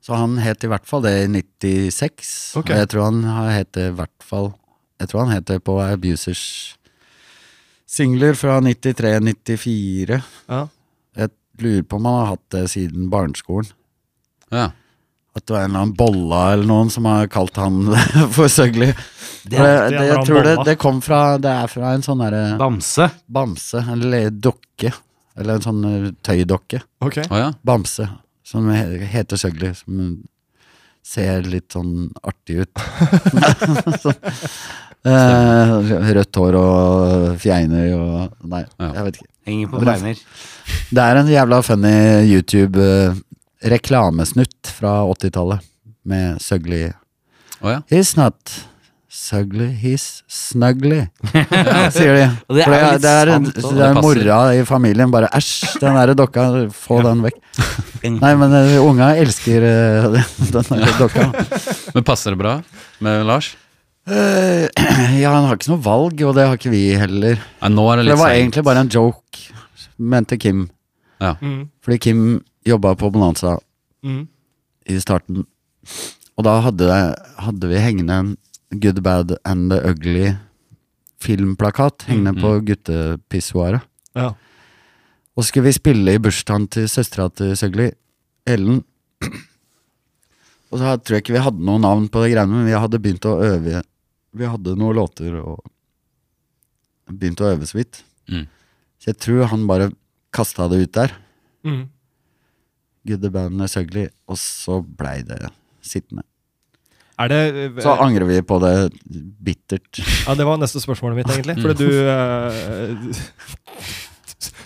Så han het i hvert fall det i 96. Ok. Og jeg tror han har het det i hvert fall Jeg tror han het det på Abusers singler fra 93-94. Ja. Jeg lurer på om han har hatt det siden barneskolen. Ja. At det var en eller annen bolla eller noen som har kalt han for Søgli. Det, er alltid det, en eller jeg annen tror det, bolla. det kom fra Det er fra en sånn derre Bamse. Bamse, eller dokke. Eller en sånn eh, tøydokke. Ok. Å ja. Bamse, som he- heter Søgli. Som ser litt sånn artig ut. så, eh, rødt hår og fjeiner og Nei, Ja. jeg vet ikke. Henger på beiner. Det er en jævla funny YouTube-reklamesnutt fra 80-tallet med Søgli. Å ja. He's not Søgli, he's snugly, sier de. Og det er For jo litt det er, sant en- også. det er Det passer. mora i familien bare Æsj, den der dokka, få den vekk. Nei, men eh, unga elsker eh, den der dokka. Men passer det bra med Lars? Eh, ja, han har ikke noe valg, og det har ikke vi heller. Nei, nå er det For det litt var seint. egentlig bare en joke, mente Kim. Ja. Mm. Fordi Kim jobba på Bonanza. Mm. i starten. Og da hadde, hadde vi hengende en Good, Bad and the Ugly filmplakat hengende på guttepissoaret. Ja. Og så skulle vi spille i bursdagen til søstera til Søgli, Ellen. Og så tror jeg ikke vi hadde noe navn på det greiene, men vi hadde begynt å øve. Vi hadde noen låter og begynt å øve så vidt. Mm. Så jeg tror han bare kasta det ut der. Mm. Guddebandet Søgli. Og så blei det sittende. Er det eh, Så angrer vi på det bittert. Ja, det var neste spørsmålet mitt, egentlig. Fordi du eh,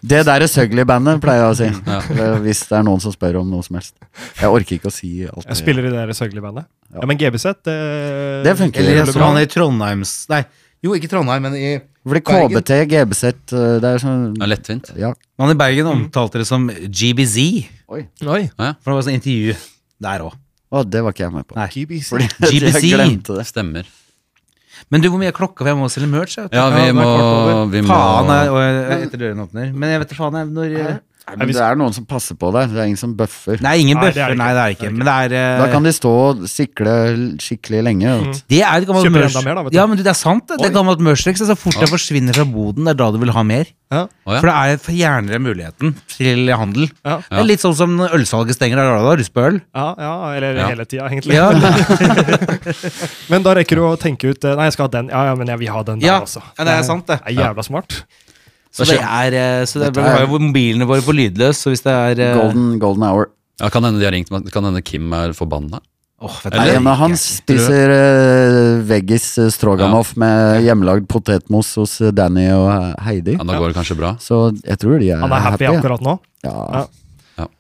Det der er Søgli-bandet, pleier jeg å si. Ja. Eh, Hvis det er noen som spør om noe som helst. Jeg orker ikke å si alt. jeg eh, spiller i det der Søgli-bandet. Ja. Ja. men GBZ det, eh, Det funker. det Eller ble som bra. han i Trondheims Nei, jo, ikke Trondheim, men i Fordi Bergen. KBT, GBZ, eh, det er sånn Det er lettvint. Ja. Han i Bergen omtalte det som GBZ, Oi. Oi. for det var sånn intervju der òg. Å, det var ikke jeg med på. Nei. Fordi GBC. jeg glemte det. Stemmer. Men du, hvor mye er klokka? For jeg må selge merch. jeg vet du. Ja, vi det er må, kvart over. vi må Faen, jeg, og jeg, etter dørene åpner. Men jeg vet ikke faen jeg, når Nei, men det er noen som passer på der. Det er ingen som bøffer. Nei, ingen Nei, det bøffer. er det Nei, det er det ikke. Men det er eh, Da kan de stå og sikle l- skikkelig lenge. vet du. Det er et gammelt Kjøper merch. enda mer da, vet du. ja, men du, det er sant. Det Det er et gammelt merch-triks. Så fort det forsvinner fra boden, det er da du vil ha mer. Ja. Å, ja. For det er fjerner det muligheten til handel. Ja. Det er litt sånn som når ølsalget stenger, det er da du har lyst på øl. Ja, ja, eller Ja. hele tida, egentlig. Ja, Men da rekker du å tenke ut eh, Nei, jeg skal ha den. Ja, ja, men jeg vil ha den der ja. også. ja, det er sant, det. Det er jævla smart. Så det er, eh, så det er, vi har jo mobilene våre på lydløs, så hvis det er eh, Golden, golden hour. ja, Kan hende de har ringt meg. Kan hende Kim er forbanna. åh, vet du, Nei, det men liker han jeg. spiser eh, veggis eh, stroganoff med hjemmelagd potetmos hos eh, Danny og eh, Heidi. Ja, da går det kanskje bra. Så jeg tror de er, Han er happy ja. akkurat nå. Ja.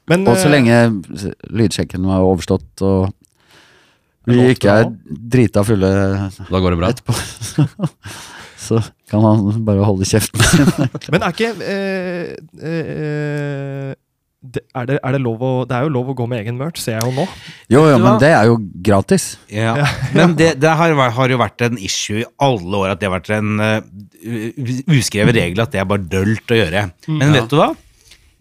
Men, Og så eh, lenge s- lydsjekken var overstått og vi låt ikke fra er drita fulle Da går det bra. etterpå, så kan han bare holde kjeften sin. men er ikke eh, eh, det, er, det, er det lov å Det er jo lov å gå med egen merch, ser jeg jo nå. Jo, jo, Du men har- det er jo gratis. Ja. Men det, det har, vært- har jo vært en issue i alle år at det har vært en eh, u- uskrevet regel at det er bare dølt å gjøre. Mm. Men vet du hva?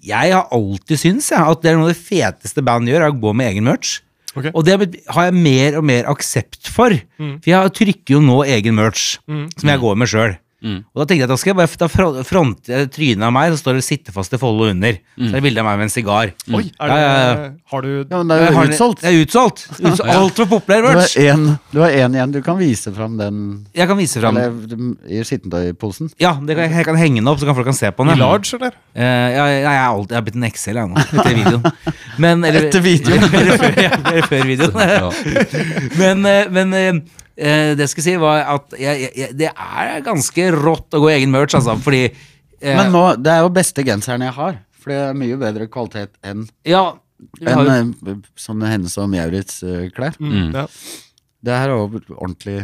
Jeg har alltid syntes jeg, at det er noe av det feteste band gjør, er å gå med egen merch. Ok. Og det har blitt- har jeg mer og mer aksept for. Mm. For jeg trykker jo nå egen merch, som jeg går med sjøl. Mm. Og da tenkte jeg at da skal jeg bare da fron- fronte trynet av meg, så står det 'sitte fast i Follo' under. Mm. Så er det bilde av meg med en sigar. Oi, er det, Ja, ja, ja. Har du Ja, men det er Jeg har jo den- utsolgt. Det er utsolgt. Utsolgt. Altfor populær Du merch. har én- Du har én igjen. Du kan vise fram den Jeg kan vise fram. eller, mm, i skittentøyposen. Ja, det kan, jeg kan henge den opp, så kan folk kan se på den. i large, eller? Eh, ja, jeg, jeg, er alltid, jeg har blitt en Excel jeg nå, etter videoen. Men, eller, Etter videoen. eller, før, ja, eller før videoen. Ja. Men, eh, men eh, eh, det jeg skulle si, var at jeg, jeg- jeg, det er ganske rått å gå i egen merch, altså, fordi eh, Men nå, det er jo beste genseren jeg har. For det er mye bedre kvalitet enn Ja. vi har enn jo- eh, sånne hennes og Mjauritz eh, klær. Mm. Ja. Det her er jo ordentlig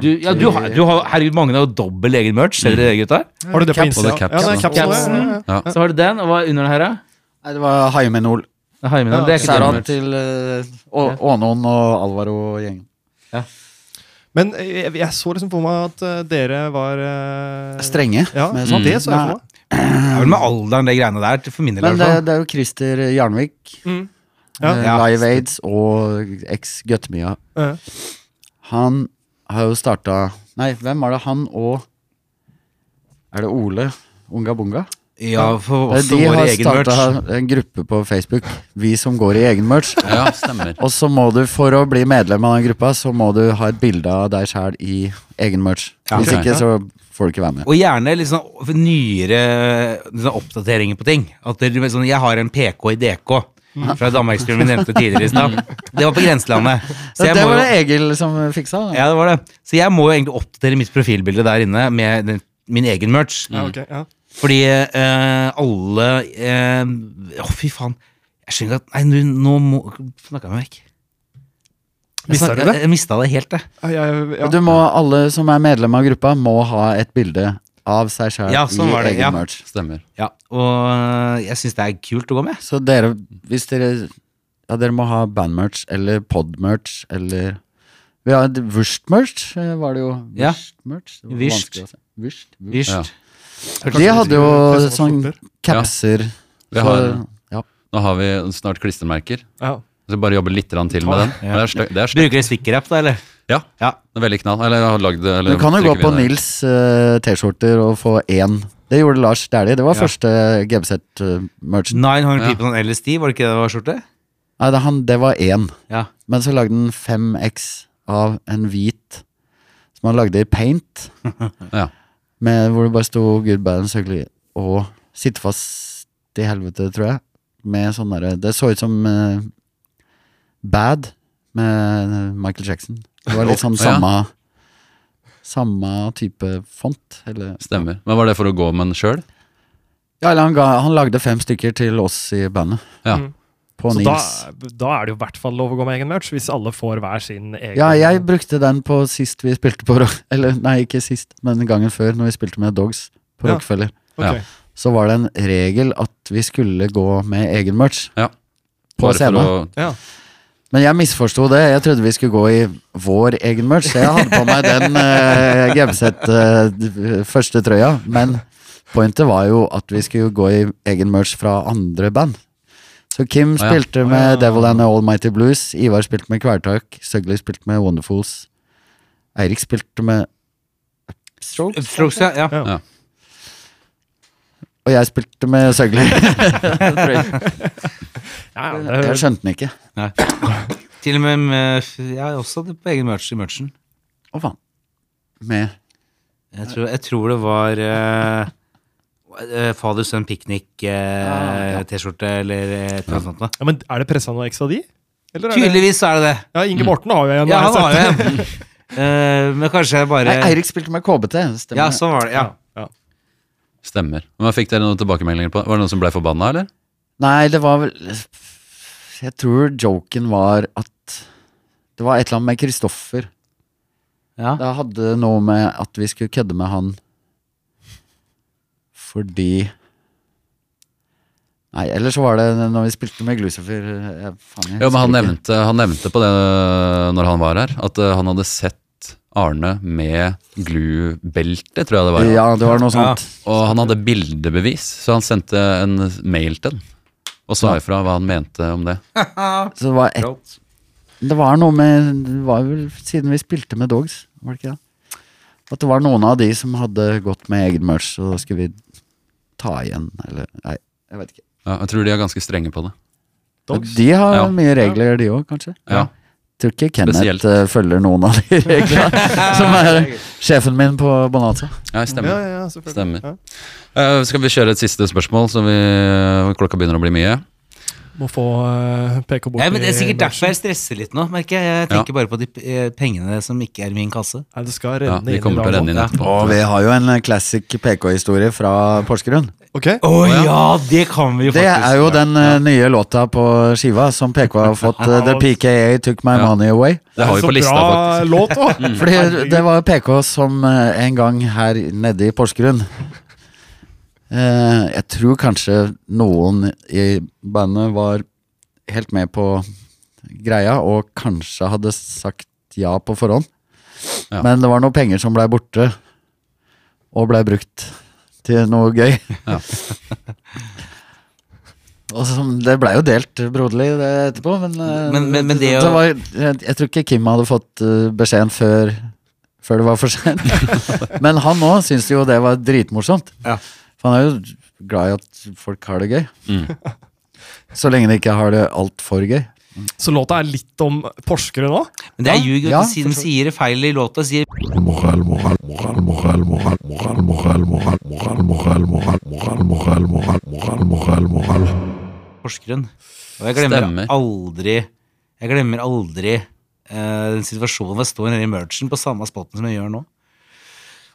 du, ja, du, har- du har herregud, mange har jo dobbel egen merch, ser dere det, gutta? Har du det på Caps. Insta? Og det er Ja, det capsen, er capsen. Capsen. ja, ja, ja. Så har du den, og hva er under den her, da? Nei, det var Haimenol. Det har jeg med den, Det er ikke Særan dobbel merch. til eh, Å- Ånon og Alvaro og gjengen. Men eh, jeg, jeg så liksom for meg at eh, dere var eh, Strenge. Ja, med sånt. det så jeg for Nei, meg. Det er vel med alderen, det greiene der, til- for min del. i Men hvert det, fall. det er jo Christer Jarnvik, Mm. Ja. eh, Ja. Live Aids og eks Gøttemia. Ja. Han har jo starta Nei, hvem var det? Han og Er det Ole Unga Bunga? Ja, for oss De og har vår egen merch. starta en gruppe på Facebook, Vi som går i egen merch. ja, stemmer. Og så må du, for å bli medlem av den gruppa, så må du ha et bilde av deg sjæl i egen merch. Ja, Hvis ok. ikke, så får du ikke være med. Og gjerne litt sånn for nyere litt sånn oppdateringer på ting. At det, er sånn, jeg har en PK i DK fra Danmarksturen vi nevnte tidligere i stad. Det var på Grenselandet. Så jeg Ja, det må var jo, det Egil som fiksa. da. ja, det var det. Så jeg må jo egentlig oppdatere mitt profilbilde der inne med den, min egen merch. Ja, ok, ja. Fordi eh, alle eh, Å, fy faen. Jeg skjønner ikke at Nei, nå, nå må Snakka jeg meg vekk. Jeg Mistet snakket- du det? Jeg mista det helt, jeg. Ja, ja, ja. Og Du må, alle som er medlem av gruppa, må ha et bilde av seg sjæl Ja, i sånn var det, egen ja. merch. stemmer. Ja, og eh, jeg syns det er kult å gå med. Så dere, hvis dere Ja, dere må ha bandmerch eller podmerch eller Vi har et Wurst-merch, eh, var det jo. Ja. Wurst-merch. det var Wurst. vanskelig å si. Wurst. Vyrst. Ja. De hadde Kanskje vi jo skulle presse sånn oss fortere. capser. Vi så- har- ja. Nå har vi snart klistremerker. Ja. Så bare jobbe litt grann til med den. Ja. Men Det er stø- det er stø- Bruker dere stikkrapp, da, eller? Ja. Ja. det er veldig knall. Eller jeg har lagd eller Du kan jo gå trykker på vi det. Nils eh, T-skjorter og få én. Det gjorde Lars Dæhlie. Det var Ja. første eh, GBZ-merchant. 900 Ja. people on LSD, var det ikke det det var skjorte? Nei, det, han, det var én. Ja. Men så lagde han 5X av en hvit som han lagde i paint. Ja. Med, hvor det bare sto 'Good balance ugly' og 'Sitte fast i helvete', tror jeg. Med sånn derre Det så ut som eh, Bad med Michael Jackson. Det var litt sånn Ja. samme Samme type font. Eller, Stemmer. Men var det for å gå med den sjøl? ja, eller han, ga, han lagde fem stykker til oss i bandet. Ja. Mm. På Så da, Nils. da er det jo i hvert fall lov å gå med egen merch, hvis alle får hver sin egen. Ja, jeg brukte den på sist vi spilte på Rock... Eller nei, ikke sist, men gangen før, når vi spilte med Dogs på Ja. Rockefeller. Ok. Ja. Så var det en regel at vi skulle gå med egen merch Ja. på scenen. å Ja. Men jeg misforsto det. Jeg trodde vi skulle gå i vår egen merch, så jeg hadde på meg den uh, eh, første trøya. Men pointet var jo at vi skulle gå i egen merch fra andre band. Så Kim Å ja. spilte med Å ja. Devil and the Almighty Blues, Ivar spilte med Kvelertak, Søgli spilte med Wonderfools, Eirik spilte med Strokes, Strokes, ja. ja. og jeg spilte med Søgli. Ja, ja, Jeg det, skjønte den ikke. Til og med med Jeg har også det på egen merch i merchen. Å, faen. Med Jeg tror, jeg tror det var eh, eh, Fader sønn Ah, ja. piknik-T-skjorte eller eh, et eller annet sånt. Da. ja, men er det pressa noe ekstra di? Eller er det- Tydeligvis er det det. Ja, Inge Morten har jo en. Ja, har jeg han har jo sett. en. Eh, men kanskje jeg bare Nei, Eirik spilte med KBT. Stemmer. Ja, det. sånn var det. Ja. Ja. Stemmer. Men Fikk dere noen tilbakemeldinger på det? Var det noen som ble forbanna, eller? Nei, det var vel Jeg tror joken var at Det var et eller annet med Kristoffer. Ja. Det hadde noe med at vi skulle kødde med han fordi Nei, eller så var det når vi spilte med Glucifer jeg, faen, jeg Ja, men han husker ikke. nevnte, han nevnte på det øh, når han var her, at eh, han hadde sett Arne med glubelte, tror jeg det var. Ja, det var noe sånt. Og han hadde bildebevis, så han sendte en mail til den. Og sa ifra hva han mente om det. Så det var, et, det var noe med Det var vel siden vi spilte med Dogs, var det ikke det? At det var noen av de som hadde gått med egen merch, og da skulle vi ta igjen, eller Nei, jeg vet ikke. Ja, jeg tror de er ganske strenge på det. Dogs. De har Ja. mye regler, de òg, kanskje. Ja, Tror ikke Kenneth Spesielt. eh, følger noen av de reglene. som er sjefen min på Bonanza. ja Ja, stemmer. ja, ja, selvfølgelig. Stemmer. Ja. Eh, skal vi kjøre et siste spørsmål, så vi, øh, klokka begynner å bli mye? Må få eh, PK bort Nei, men Det er sikkert i merchen. derfor jeg stresser litt nå. merker Jeg Jeg tenker bare på de eh, pengene som ikke er i min kasse. Nei, det skal Ja, renne vi inn i kommer til å dag renne inn etterpå. Og vi har jo en eh, classic PK-historie fra Porsgrunn. også. Ok, Å ja, det kan vi jo Det faktisk. er jo den eh, nye låta på skiva som PK har fått. eh, The PKA Took My Ja. Money Away. Det har vi så på lista, bra faktisk. låt òg! Mm. Fordi det var PK som eh, en gang her nede i Porsgrunn eh, Jeg tror kanskje noen i bandet var helt med på greia og kanskje hadde sagt ja på forhånd. Ja. Men det var noen penger som blei borte, og blei brukt til noe gøy. Ja. Og som, det blei jo delt broderlig det etterpå, men, eh, Men- men- men det å- var, jeg, jeg tror ikke Kim hadde fått eh, beskjeden før, før det var for sent. men han òg syntes jo det var dritmorsomt. Ja. For han er jo glad i at folk har det gøy. Mm. Så lenge de ikke har det altfor gøy. Så låta er litt om Porsgrunn òg? Men det er ljug. Ja, Ja, siden sier det feil i låta. Sier المغال مغال مغال مغال مغال مغال مغال مغال مغال مغال مغال مغال مغال مغال مغال مغال Porsgrunn. Og jeg glemmer Stemmer. aldri Jeg glemmer aldri eh, den situasjonen hvor jeg står nede i merchen på samme spotten som jeg gjør nå.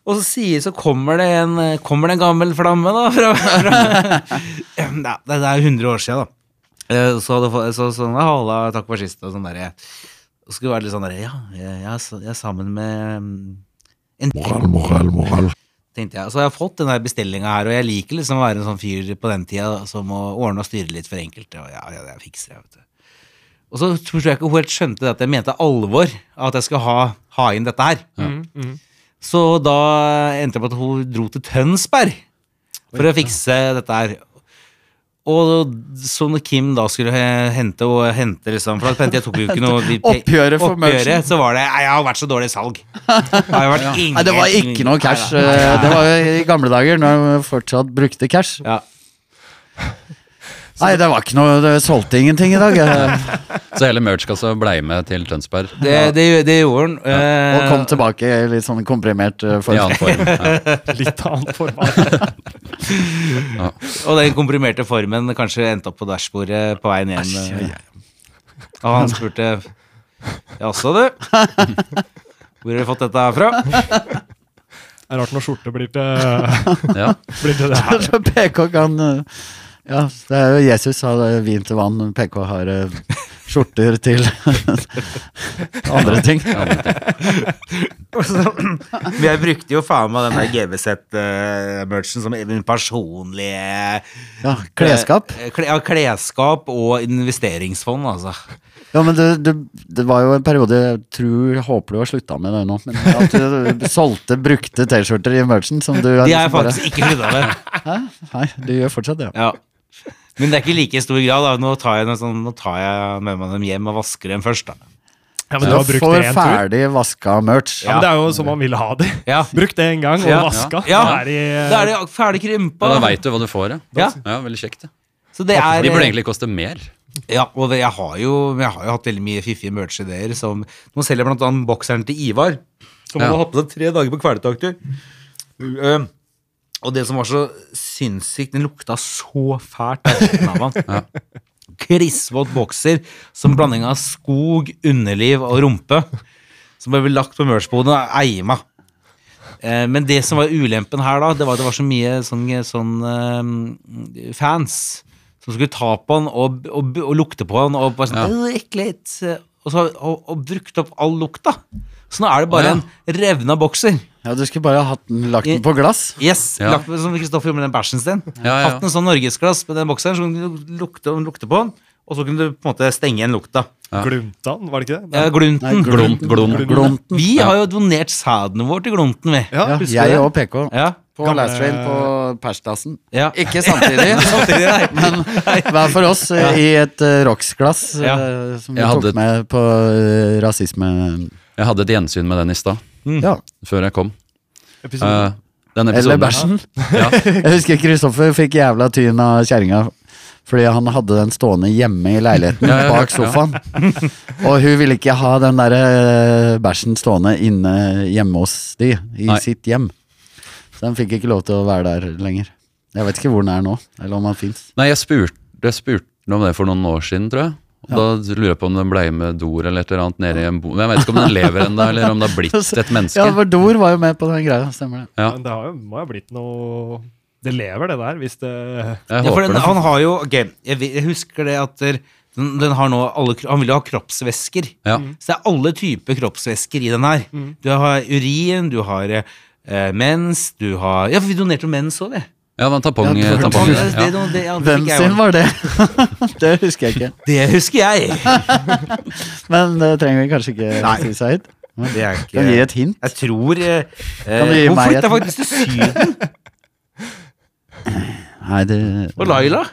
Og så sier så kommer det en eh, Kommer det en gammel flamme, da? Fra, fra, Nei, det, det er jo 100 år siden, da. Eh, Så hadde fått så, sånn ja, Halla, takk for sist, og sånn derre. Og så skulle det være litt sånn derre Ja, jeg, jeg, er s- jeg er sammen med mm, مغال مغال مغال tenkte jeg. Så har jeg fått den bestillinga her, og jeg liker liksom å være en sånn fyr på den tida som å ordne og styre litt for enkelte. Og ja, ja, jeg fikser det, vet du. Og så tror jeg ikke hun helt skjønte det at jeg mente alvor, at jeg skulle ha, ha inn dette her. Mm, Så da endte jeg på at hun dro til Tønsberg for å fikse dette her. Og så når Kim da skulle he- hente og hente liksom For da hente, jeg tok jo ikke noe de pe- Oppgjøret for merchen. Så var det Nei, jeg har vært så dårlig i salg. Det har jo vært ingen Nei, det var ikke noe cash. eh, Det var jo i gamle dager, når vi fortsatt brukte cash. Ja. Nei, det var ikke noe Det solgte ingenting i dag. eh, Så hele merch-kassa blei med til Tønsberg. Det, det, det gjorde han. eh, Og kom tilbake i litt sånn komprimert eh, I form. annen form. Ja. Litt annet format. Eh, Og den komprimerte formen kanskje endte opp på dashbordet på veien hjem. Æsj, ja, ja. Og han spurte Jaså, du? Hvor har du fått dette her fra? Det er rart når skjorte blir til, Ja. blir til det her. Så PK kan eh, Ja, det er jo Jesus har eh, vin til vann. PK har eh, skjorter til andre ting. Og så- Men jeg brukte jo faen meg den der GBZ-merchen som min personlige Ja, Klesskap. Eh, Kle, ja, klesskap og investeringsfond, altså. Ja, men det, det, det var jo en periode jeg tror, håper du har slutta med det nå. Men at du solgte brukte T-skjorter i merchen som du liksom De har jeg faktisk ikke slutta med. Nei, du gjør fortsatt det. Ja. Ja. Men det er ikke like i stor grad. Da. Nå, tar jeg noe sånn, nå tar jeg med meg dem hjem og vasker dem først. Da. Ja, men du har du brukt det får en tur. ferdig vaska merch. Ja, men det er jo som man vil ha det. Ja. Brukt det en gang og Ja. vaska. Ja. Da er de- Da er de ferdig krympa. ja, Da veit du hva du får, ja. Ja. ja veldig kjekt. Ja. Så det er De burde egentlig koste mer. Ja, og det, jeg, har jo, jeg har jo hatt veldig mye fiffige merch-ideer. som- Nå selger jeg blant annet bokseren til Ivar, som Ja. han har hatt på seg tre dager på kvelertaktur. Uh, og det som var så sinnssykt, den lukta så fælt av kjeften av han. Klissvåt bokser som blanding av skog, underliv og rumpe. Som ble lagt på merch-boden og eima. Eh, Men det som var ulempen her, da, det var at det var så mye sånn, sånn eh, fans som skulle ta på han og, og, og lukte på han og bare sånn «Åh, ekkelt. Og, så, og, og brukte opp all lukta. Så nå er det bare Å, en revna bokser. Ja, Du skulle bare hatt den, lagt den på glass. Yes, Ja. lagt, Som Kristoffer gjorde med den bæsjen sin. Ja, ja. Hatt en sånn norgesglass med den bokseren, så kunne du lukte, lukte på den. Og så kunne du på en måte stenge igjen lukta. Gluntan, var det ikke det? Eh, glunten. Glom, glom, glom. Glonten. Vi har jo donert sæden vår til Glunten, vi. Ja, Ja, husker du jeg det? og PK Ja, på Gamle- last train på persdassen. ja. Ikke samtidig, men hver for oss eh, i et uh, rocksglass eh, Ja. som vi Jeg hadde- tok med på eh, rasisme... Jeg hadde et gjensyn med den i stad, Ja. før jeg kom. Episoden. Uh, Eh, den Eller episoden bæsjen. Ja. Jeg husker Kristoffer fikk jævla tyn av kjerringa fordi han hadde den stående hjemme i leiligheten Ja, ja, ja, bak ja. sofaen. Og hun ville ikke ha den der eh, bæsjen stående inne hjemme hos de, i Nei. sitt hjem. Så den fikk ikke lov til å være der lenger. Jeg vet ikke hvor den er nå, eller om han fins. Nei, jeg spurte, jeg spurte den om det for noen år siden, tror jeg. Og Da lurer jeg på om den ble med dor eller et eller annet nede i en bo... Jeg vet ikke om den lever ennå, eller om det har blitt et Ja, menneske. for Dor var jo med på den greia, stemmer det. Ja, Men det har jo, må jo ha blitt noe Det lever, det der, hvis det jeg Ja, for håper den, det. han har jo Ok, jeg, vet- jeg husker det at der- den, den har nå alle, kro- Han vil jo ha kroppsvæsker. Ja. Så det er alle typer kroppsvæsker i den her. Mm. Du har urin, du har eh, mens, du har Ja, for vi donerte jo mens òg, vi. Ja, men tampong, Ja, det var- tampong Det- ja. det- det- ja, det Hvem fikk jeg sin også. var det? det husker jeg ikke. Det husker jeg! Men det trenger vi kanskje ikke Nei. si seg ut. Det er ikke Kan gi et hint. Jeg tror eh, du gi eh, Hun meg et- flytta faktisk til Syden. Nei, det Og Laila.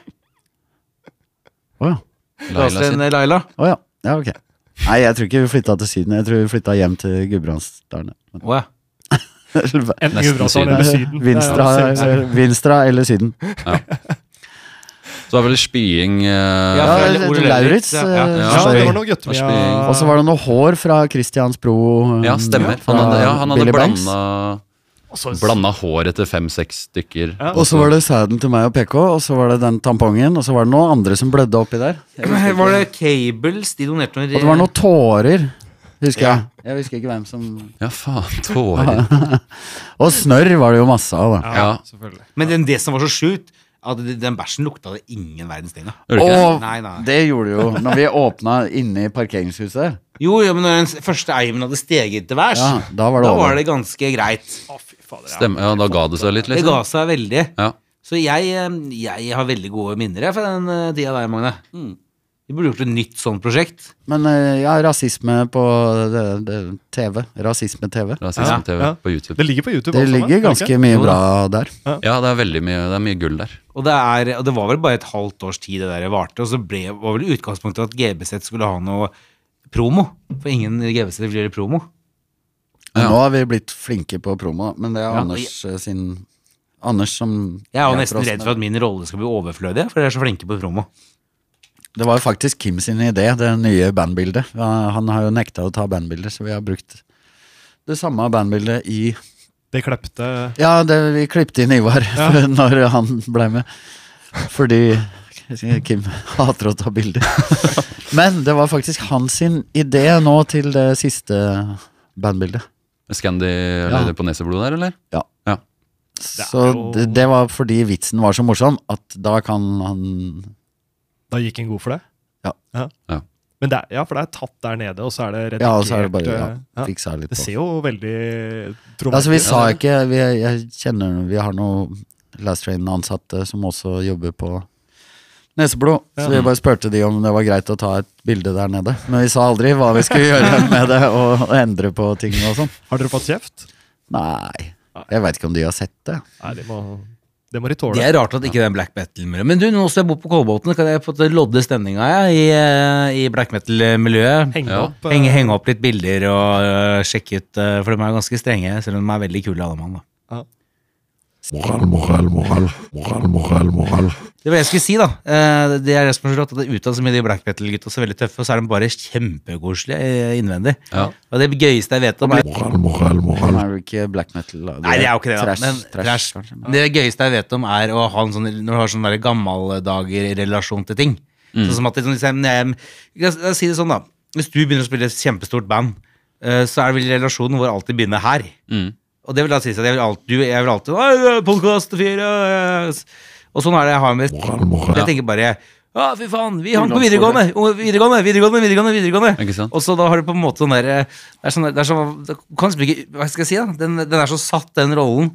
Å ja. Laila Laila sin. Laila. Å ja. ja, ok. Nei, jeg tror ikke vi flytta til Syden. Jeg tror vi flytta hjem til Gudbrandsdalen. Å, ja. Enten Nesten Gudbrandsdalen eller Syden. Vinstra, Det er jo eller, Vinstra eller Syden. Så var vel spying eh, Ja, Ja, fra eller Ole Lauritz. Lauritz, ja. eh, Ja, Ja, Sorry. det var Lars Bing. noe Gøttemia Og så var det noe hår fra Christiansbro. eh, Mm, ja, stemmer. fra Han hadde, ja, han hadde Billy Banks. blanda, blanda håret til fem-seks stykker. Ja. Og så var det sæden til meg og PK, og så var det den tampongen, og så var det noen andre som blødde oppi der. Var det Cables? De donerte noen Og det var noen tårer, husker jeg. Jeg husker ikke hvem som Ja, faen. Tårer. Og snørr var det jo masse av, da. Ja, Ja. selvfølgelig. Men den, det som var så sjukt, at det- den bæsjen lukta det ingen verdens ting av. Gjorde det ikke Og Nei, nei. det gjorde jo Når vi åpna inne i parkeringshuset, Jo, jo, men når den første eimen hadde steget til værs, ja, da var det da over. var det ganske greit. Å, fy fader. det? Ja. Stemmer. Ja, da ga det seg litt, Det liksom. ga seg veldig. Ja. Mm. Så jeg, eh, jeg har veldig gode minner jeg, fra den eh, tida der, Magne. Vi De burde gjort et nytt sånt prosjekt. Men eh, ja, rasisme på det, det, TV. Rasisme-TV. Ja. Rasisme-TV Ja. på YouTube. Det ligger på YouTube. Det alt sammen, sånn, ligger gjør det ikke? ganske mye bra der. Ja, det er veldig mye, det er mye gull der. Og det, er, og det var vel bare et halvt års tid det der varte, og så ble, var vel utgangspunktet at GBZ skulle ha noe promo. For ingen i GBZ vil gjøre promo. Ja. Nå har vi blitt flinke på promo, da, men det er Ja. Anders eh, sin Anders som Jeg er jo hjelper nesten oss redd med for at min rolle skal bli overflødig, for dere er så flinke på promo. Det var jo faktisk Kim sin idé, det nye bandbildet. Ja, Han har jo nekta å ta bandbilder, så vi har brukt det samme bandbildet i Det klepte Ja, det, vi klippte inn Ivar når han ble med. Fordi Kim hater å ta bilder. Men det var faktisk hans sin idé nå til det siste bandbildet. Scandy Ja. eller på neseblod der, eller? Så jo- det, det var fordi vitsen var så morsom at da kan han Da gikk en god for det? Ja. Ja. Men det er, ja, for det er tatt der nede, og så er det redigert. eh, Ja, og så er det bare ja, ja. fiksa litt Det på. ser jo veldig troverdig Altså, vi ut. sa ikke vi, Jeg kjenner Vi har noen Last Train-ansatte som også jobber på Neseblod. Så vi bare spurte de om det var greit å ta et bilde der nede. Men vi sa aldri hva vi skulle gjøre med det, og, og endre på ting og sånn. Har dere fått kjeft? Nei. Jeg veit ikke om de har sett det. Nei, det må, det må de tåle. Det er rart at ikke det er en black metal-miljø. Men du, nå som jeg bor på Kolbotn, kan jeg få til å lodde stemninga jeg, i, eh, i black metal-miljøet? Henge Ja. opp eh, Henge, henge opp litt bilder og øh, sjekke ut, øh, for de er ganske strenge, selv om de er veldig kule alle mann. da. moral, moral, moral, moral, moral, moral. Det var det jeg skulle si, da. Eh, Det er det som er så rått, at det er utad så mye de black metal-gutta så veldig tøffe, og så er de bare kjempekoselige eh, innvendig. Ja. Og det gøyeste jeg vet om er Moral, moral, Han moral. er jo ikke black metal. da. Nei, det er jo ikke det, da. Trash, men trash, trash, kanskje. Det gøyeste jeg vet om, er å ha en sånn, når du har sånn der gammeldager-relasjon til ting. Mm. Sånn som at liksom, liksom, jeg, jeg, jeg sier det sånn, da. Hvis du begynner å spille et kjempestort band, eh, så er det vel relasjonen vår alltid begynner her. Mm. Og det vil da si at jeg vil alltid, du, jeg vil alltid «Oi, podcast, fire, eh». Og sånn er det jeg har med Moral, moral. Jeg tenker bare Ja, fy faen, vi hang på videregående! og Videregående, videregående, videregående! videregående. Ikke sant? Og så da har du på en måte den derre Det er sånn, det er sånn det kan liksom ikke, Hva skal jeg si, da? Den, den er så satt, den rollen,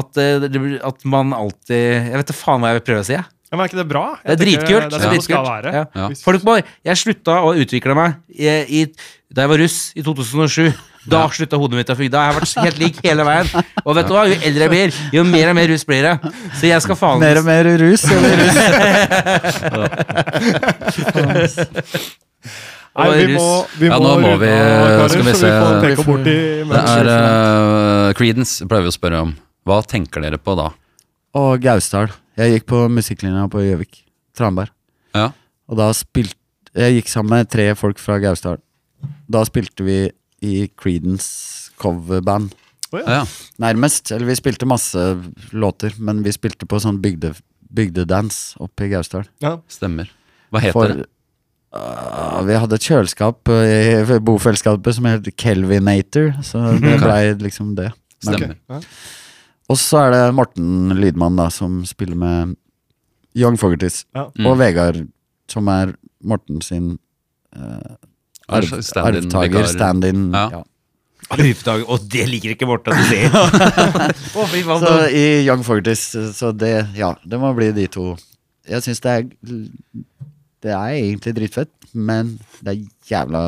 at, eh, det blir- at man alltid Jeg vet da faen hva jeg vil prøve å si, jeg. Ja, men er ikke det bra? Det er Jeg tenker dritkult. Det Ja. er sånn det skal Dritkult. være. Ja. Ja. Hvis- Folk må, jeg slutta å utvikle meg i, i, da jeg var russ, i 2007. Da slutta hodet mitt å funke. Da har jeg vært helt lik hele veien. Og vet du hva, jo eldre jeg blir, jo mer og mer russ blir jeg. Så jeg skal faen Mer og mer rus, eller rus? Nei, vi må, vi Ja, må nå må runde vi- eh, av, karer, skal vi så se. får peke bort i Det er eh, Creedence, pleier vi å spørre om. Hva tenker dere på da? og Gausdal. Jeg gikk på musikklinja på Gjøvik. Tranberg. Ja. Og da spilte Jeg gikk sammen med tre folk fra Gausdal. Da spilte vi i Creedence coverband. Ja, ja. Nærmest. Eller vi spilte masse låter, men vi spilte på sånn bygde, bygdedans oppe i Gausdal. Stemmer. Hva heter det? Ah, vi hadde et kjøleskap eh, i bofellesskapet som het Kelvinator, så det blei liksom det. Men- Stemmer. Og så er det Morten Lydmann da, som spiller med Young Fogertis. Ja. Og Mm. Vegard, som er Morten sin Er arv, det stand-in, vikar? arvtaker, stand-in. Ja. Ja. Arvdager, og det liker ikke Morten at du sier. Å, fy faen, Så da. i Young Fogertis, så det Ja, det må bli de to. Jeg syns det er Det er egentlig dritfett, men det er jævla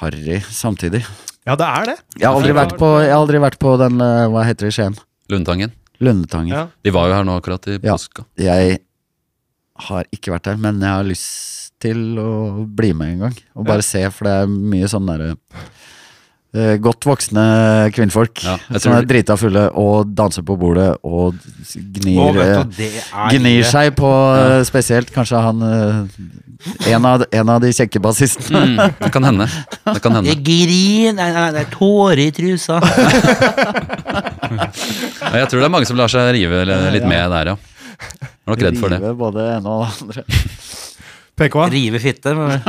harry samtidig. Ja, det er det. Jeg har aldri vært på, jeg har aldri vært på den eh, Hva heter det i Skien? Lundtangen. Lundetangen. Ja. De var jo her nå akkurat i Ja. påska. Jeg har ikke vært der, men jeg har lyst til å bli med en gang. Og bare se, for det er mye sånn derre eh, godt voksne kvinnfolk Ja, jeg som tror- er drita fulle og danser på bordet og gnir, Å, vet eh, du, det er gnir livet. seg på eh, spesielt kanskje han eh, en, av, en av de kjekke bassistene. Mm, det kan hende. Det kan hende. Jeg grin, nei, nei, det er tårer i trusa. Ja, Jeg tror det er mange som lar seg rive li- litt med der, ja. Jeg er nok redd for det. Rive Både ene og det andre. PK, Rive fitte. men-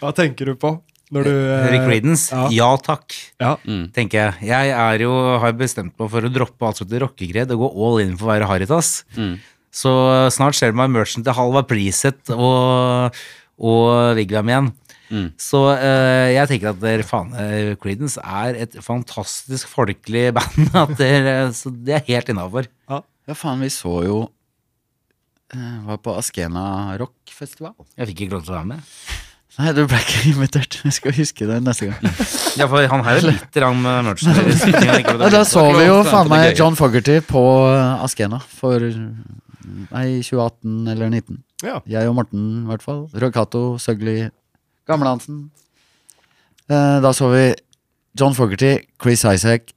hva tenker du på når du eh, Rick Creedence, ja. ja takk, Ja. tenker jeg. Jeg er jo, har bestemt meg for å droppe alt som heter rockegred og gå all in for å være Haritas. Så snart ser du meg i merchen til Halva Priset og, og Vigvam igjen. Så eh, jeg tenker at dere, faen, eh, Creedence er et fantastisk folkelig band. At dere, så det er helt innafor. Ja. Ja, faen, vi så jo eh, Var på Askena rockfestival. Jeg fikk ikke lov til å være med. Nei, du ble ikke invitert. Jeg skal huske det neste gang. Ja, for han her er litt eh, rann med merchandise. Ja, da så vi jo lov til å være på faen det meg gøye. John Fogerty på eh, Askena for Nei, 2018 eller 2019. Ja. Jeg og Morten, i hvert fall. Rogato, Søgli, Gamlehansen. Eh, da så vi John Fogerty, Chris Isaac,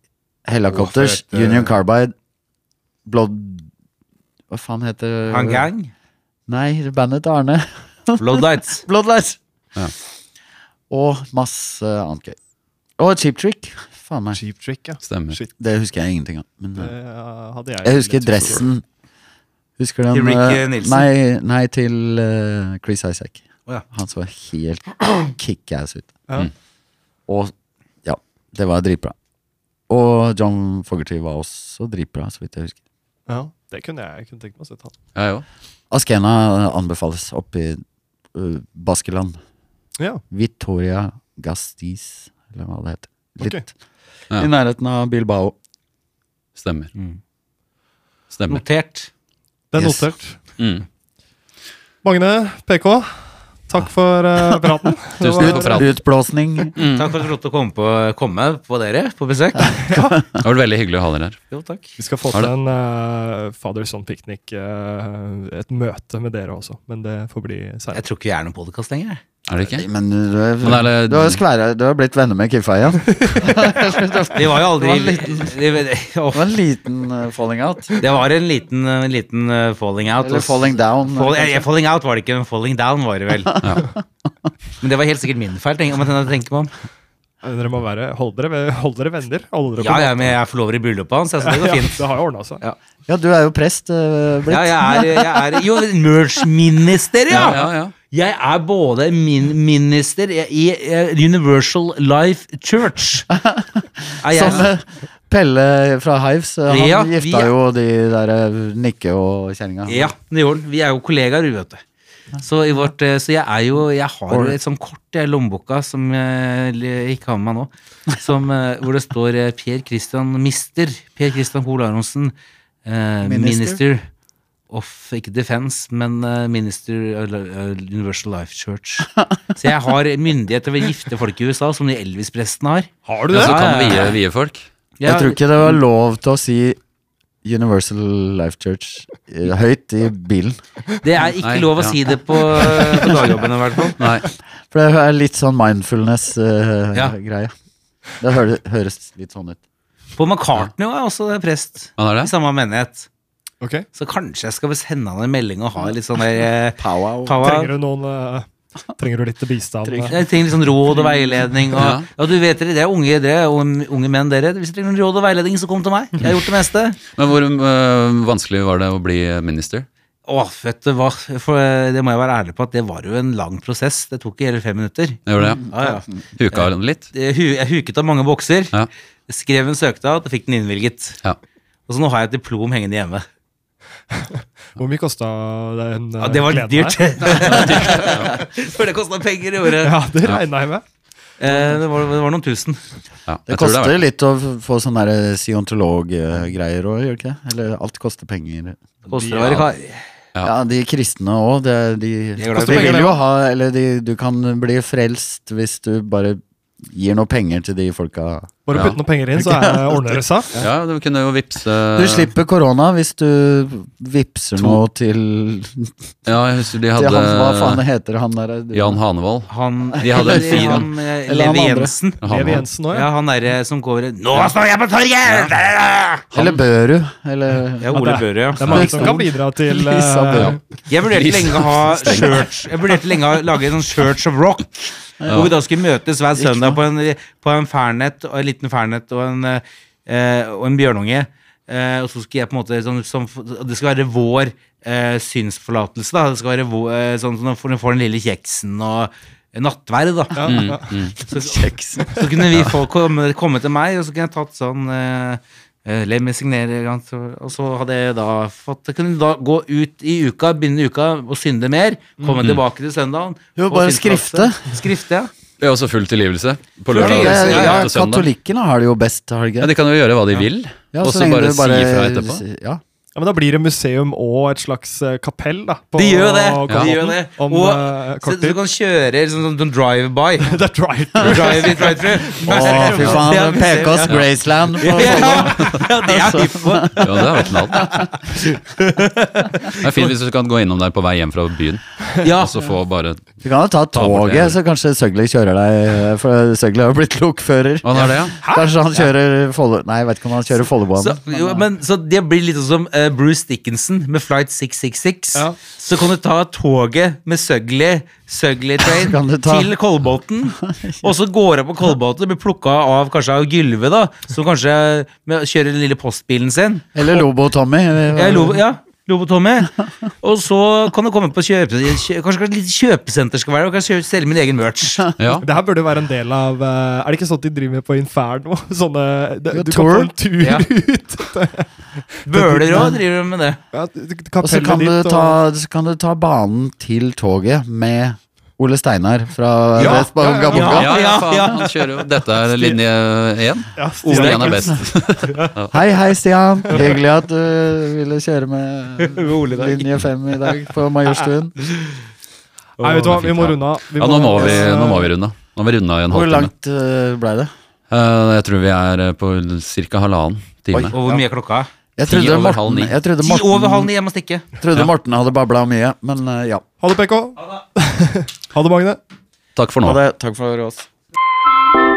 Å, Hellacopters, fett, eh. Union Carbide, Blood Hva faen heter Han gang. Nei, bandet til Arne. Bloodlights. Bloodlights. Ja. Og masse annet gøy. Og Cheap Trick. Faen meg. Cheap trick, ja. Stemmer. Shit. Det husker jeg ingenting av. Men, Det eh, eh, hadde jeg. jeg husker litt for- dressen. Husker den Til Rick, eh, eh, Nielsen? Nei, nei til eh, Chris Isaac. Å ja. Han så helt kickass ut. Mm. Ja. Og ja, det var dritbra. Og John Fogerty var også dritbra, så vidt jeg husker. Ja, det kunne jeg, jeg kunne tenkt meg å sette han. Jeg òg. Askena eh, anbefales oppe i eh, Baskeland. Ja, Victoria Gastis, eller hva det heter. Litt Ok. Ja. i nærheten av Bilbao. Stemmer. Stemmer. Notert. det er Yes. notert. Mm. Magne, PK, Ah. takk for eh, praten. Tusen takk for praten. Utblåsning. Takk for at du lot å komme på, komme på dere på besøk. Det har vært veldig hyggelig å ha dere her. Jo, takk. Vi skal få Har til det- en uh, Father Son Picnic, eh, et møte med dere også, men det får bli Jeg seinere. tror ikke vi er noen podkast lenger. jeg. Er det ikke? Men eh, du, du, Men er det- du, har skværa- du har blitt venner med Kiffa igjen. Vi var jo aldri Det var Det- Det var en liten eh, falling out. Det var en liten, en liten eh, falling out. Eller og- falling down. Fall, eh, kanskje. falling out var det ikke, men falling down var det vel. Men det var helt sikkert min feil, tenker, om jeg tenker meg om. Eh, Dere må være, hold dere, ved- hold dere venner. Hold dere på Ja, ja, men jeg er forlover i bryllupet hans, ja, så det går Ja, fint. det har jo ordna seg. Ja, du er jo prest eh, blitt. Ja, jeg er, jeg er Jo, merch-minister, ja! ja, ja. Jeg er både min minister i eh, Universal Life Church. Er jeg, Som eh, Pelle fra Hives. eh, Han Ja, vi gifta er- jo de der eh, Nikke og kjerringa. ja, det gjorde han. Vi er jo kollegaer, vi, vet du. Så, i vårt, eh, så jeg er jo Jeg har et sånt kort i lommeboka som jeg li- ikke har med meg nå, som, eh, hvor det står eh, Per Christian Mister. Per Christian Hoel Aronsen. eh, Minister. minister of Ikke Defense, men eh, Minister of Li- eh, Universal Life Church. Så jeg har myndighet til å gifte folk i USA, som de Elvis-prestene har. Har du Ja, det? så kan Ja, ja, vie, ja. vie folk. Ja, Jeg tror ikke det var lov til å si Universal Life Church eh, høyt i bilen. Det er ikke Nei, lov å ja. si det på, eh, på dagjobben i hvert fall. Nei. For det er litt sånn mindfulness-greie. Ja. Det hø høres litt sånn ut. På McCartney er også prest Han er i det? samme menighet. Ok. Så kanskje jeg skal sende han en melding og ha litt sånn der eh, Powwow. power. Trenger du noen eh, Trenger du litt bistand? Trenger- eh? Jeg trenger litt sånn råd og veiledning. Og, Ja. ja, du vet dere, det er unge, dere, er unge- unge menn, dere. Hvis dere trenger noen råd og veiledning, så kom til meg. Jeg har gjort det meste. Men hvor øh, vanskelig var det å bli minister? Å, vet du hva, for eh, det må jeg være ærlig på at det var jo en lang prosess. Det tok ikke hele fem minutter. Det gjorde det, Ja, ja. Mm. ja. Huka litt? Det hu- Jeg huket av mange bokser, Ja. skrev en søknad og fikk den innvilget. Ja. Og så nå har jeg et diplom hengende hjemme. Hvor mye kosta den eh, Ja, det var kleden dyrt. her? For det kosta penger i året. Ja, det regna jeg med. Eh, det, var, det var noen tusen. Ja, Det jeg tror koster det er verdt litt å f- få sånne der scientolog-greier òg, gjør det ikke? det? Eller alt koster penger. Det Koster å være kar. Ja. Ja, de kristne òg. De, de, glad i de penger, vil jo ha Eller de, du kan bli frelst hvis du bare gir noe penger til de folka. Bare Ja. putt noen penger inn, så er- ordner det seg. det. Ja, du kunne jo vippse Du slipper korona hvis du vippser Eh. To. noe til, Ja, jeg husker de til han, Hva faen hadde heter han der? eh, Jan Hanevold. Han De hadde en fin- han, eh, Eller han Levi andre. Jensen. Lev Hanevold. Jensen òg, ja. Ja, han derre som går Nå står jeg på torget! Eller Børud? Eller Ja, Ole Børre, Det ja. er mange som kan bidra til eh, Lisa Børud. Jeg vurderte lenge å ha church Jeg vurderte lenge å lage en sånn Church of Rock. Hvor vi da skulle møtes hver søndag på en, på en fernet, og en liten fernet og en, eh, og en bjørnunge. Eh, og så skulle jeg på en måte sånn, som, og Det skal være vår eh, synsforlatelse, da. Det skal være vår, eh, sånn som når du får den lille kjeksen og nattverd, da. Mm, Ja, ja. Så, så kunne vi få komme, komme til meg, og så kunne jeg tatt sånn eh, eh, Let me signere, ikke sant? Så- og så hadde jeg da fått jeg Kunne da gå ut i uka, begynne uka og synde mer. Komme tilbake til søndagen. Jo, få bare synsplasse. Skrifte, ja. Det er også full tilgivelse på Ja, lørdag og tilgivelse, ja, søndag. Katolikkene har det jo best, har de Ja, ikke? de kan jo gjøre hva de vil, Ja, og så så lenge bare du si ifra etterpå. si- Ja, Ja, men da blir det museum og et slags eh, kapell, da. på De gjør det! Kolbotn De gjør det. Om og eh, så, kort du tid. kan kjøre sånn, sånn, sånn drive-by. Det er drive-thru. Drive-in, drive-thru. Å, fy faen. PKs Ja. Graceland. på Follo. Ja, ja, det er hypp på. Ja, det er jo knall. Det er fint hvis du kan gå innom der på vei hjem fra byen, Ja. og så få bare Du kan jo ta Ta bort det. toget, så kanskje Søgli kjører deg For Søgli har jo blitt lokfører. Hva er det, ja? Kanskje han kjører Follo... Nei, jeg vet ikke om han kjører Så, Follobanen. jo, men, så det blir litt sånn som eh, Bruce Dickinson med Flight 666. Ja. Så kan du ta toget med Søgli, Søgli Train Så kan du ta- til Kolbotn. Og så går jeg på Kolbotn og blir plukka av kanskje av Gylve, da. Som kanskje eh, med, kjører den lille postbilen sin. Eller Lobo-Tommy. Ja, Eh. Lobo, ja. Lobo Tommy. Og så kan du komme på kjøpe... kjø- Kanskje et lite kjøpesenter skal være og kan kjø- selge min egen merch. ja. Det her burde jo være en del av eh, Er det ikke sånt de driver med på Inferno? Sånne det, Du kan Tour? få en tur Ja. ut. Bøler òg driver med det. Ja, d- d- Og så kapellet kan, du ditt og- ta- så kan du ta banen til toget med Ole Steinar fra Ja, Vestbanen ja, Gabonga. Ja, ja, Ja, ja. faen, han kjører jo. Dette er linje én. ja, Ole Stian. Stian er best. Hei, hei, Stian. Hyggelig at du ville kjøre med Ole der. linje fem i dag på Majorstuen. Nei, vet du hva, vi må runde av. Vi Ja, nå må vi, nå må vi runde. av. Nå har vi runda i en Hvor halvtime. langt eh, ble det? Eh, jeg tror vi er eh, på ca. halvannen time. Og hvor mye er klokka? Jeg Ti trodde over halv Morten, ni. jeg trodde Ti Morten, over halv ni, jeg må stikke. trodde Ja. Morten hadde babla mye, men eh, ja. Ha det, PK. Ha det, Magne. Takk for nå. Ha det. Takk for oss.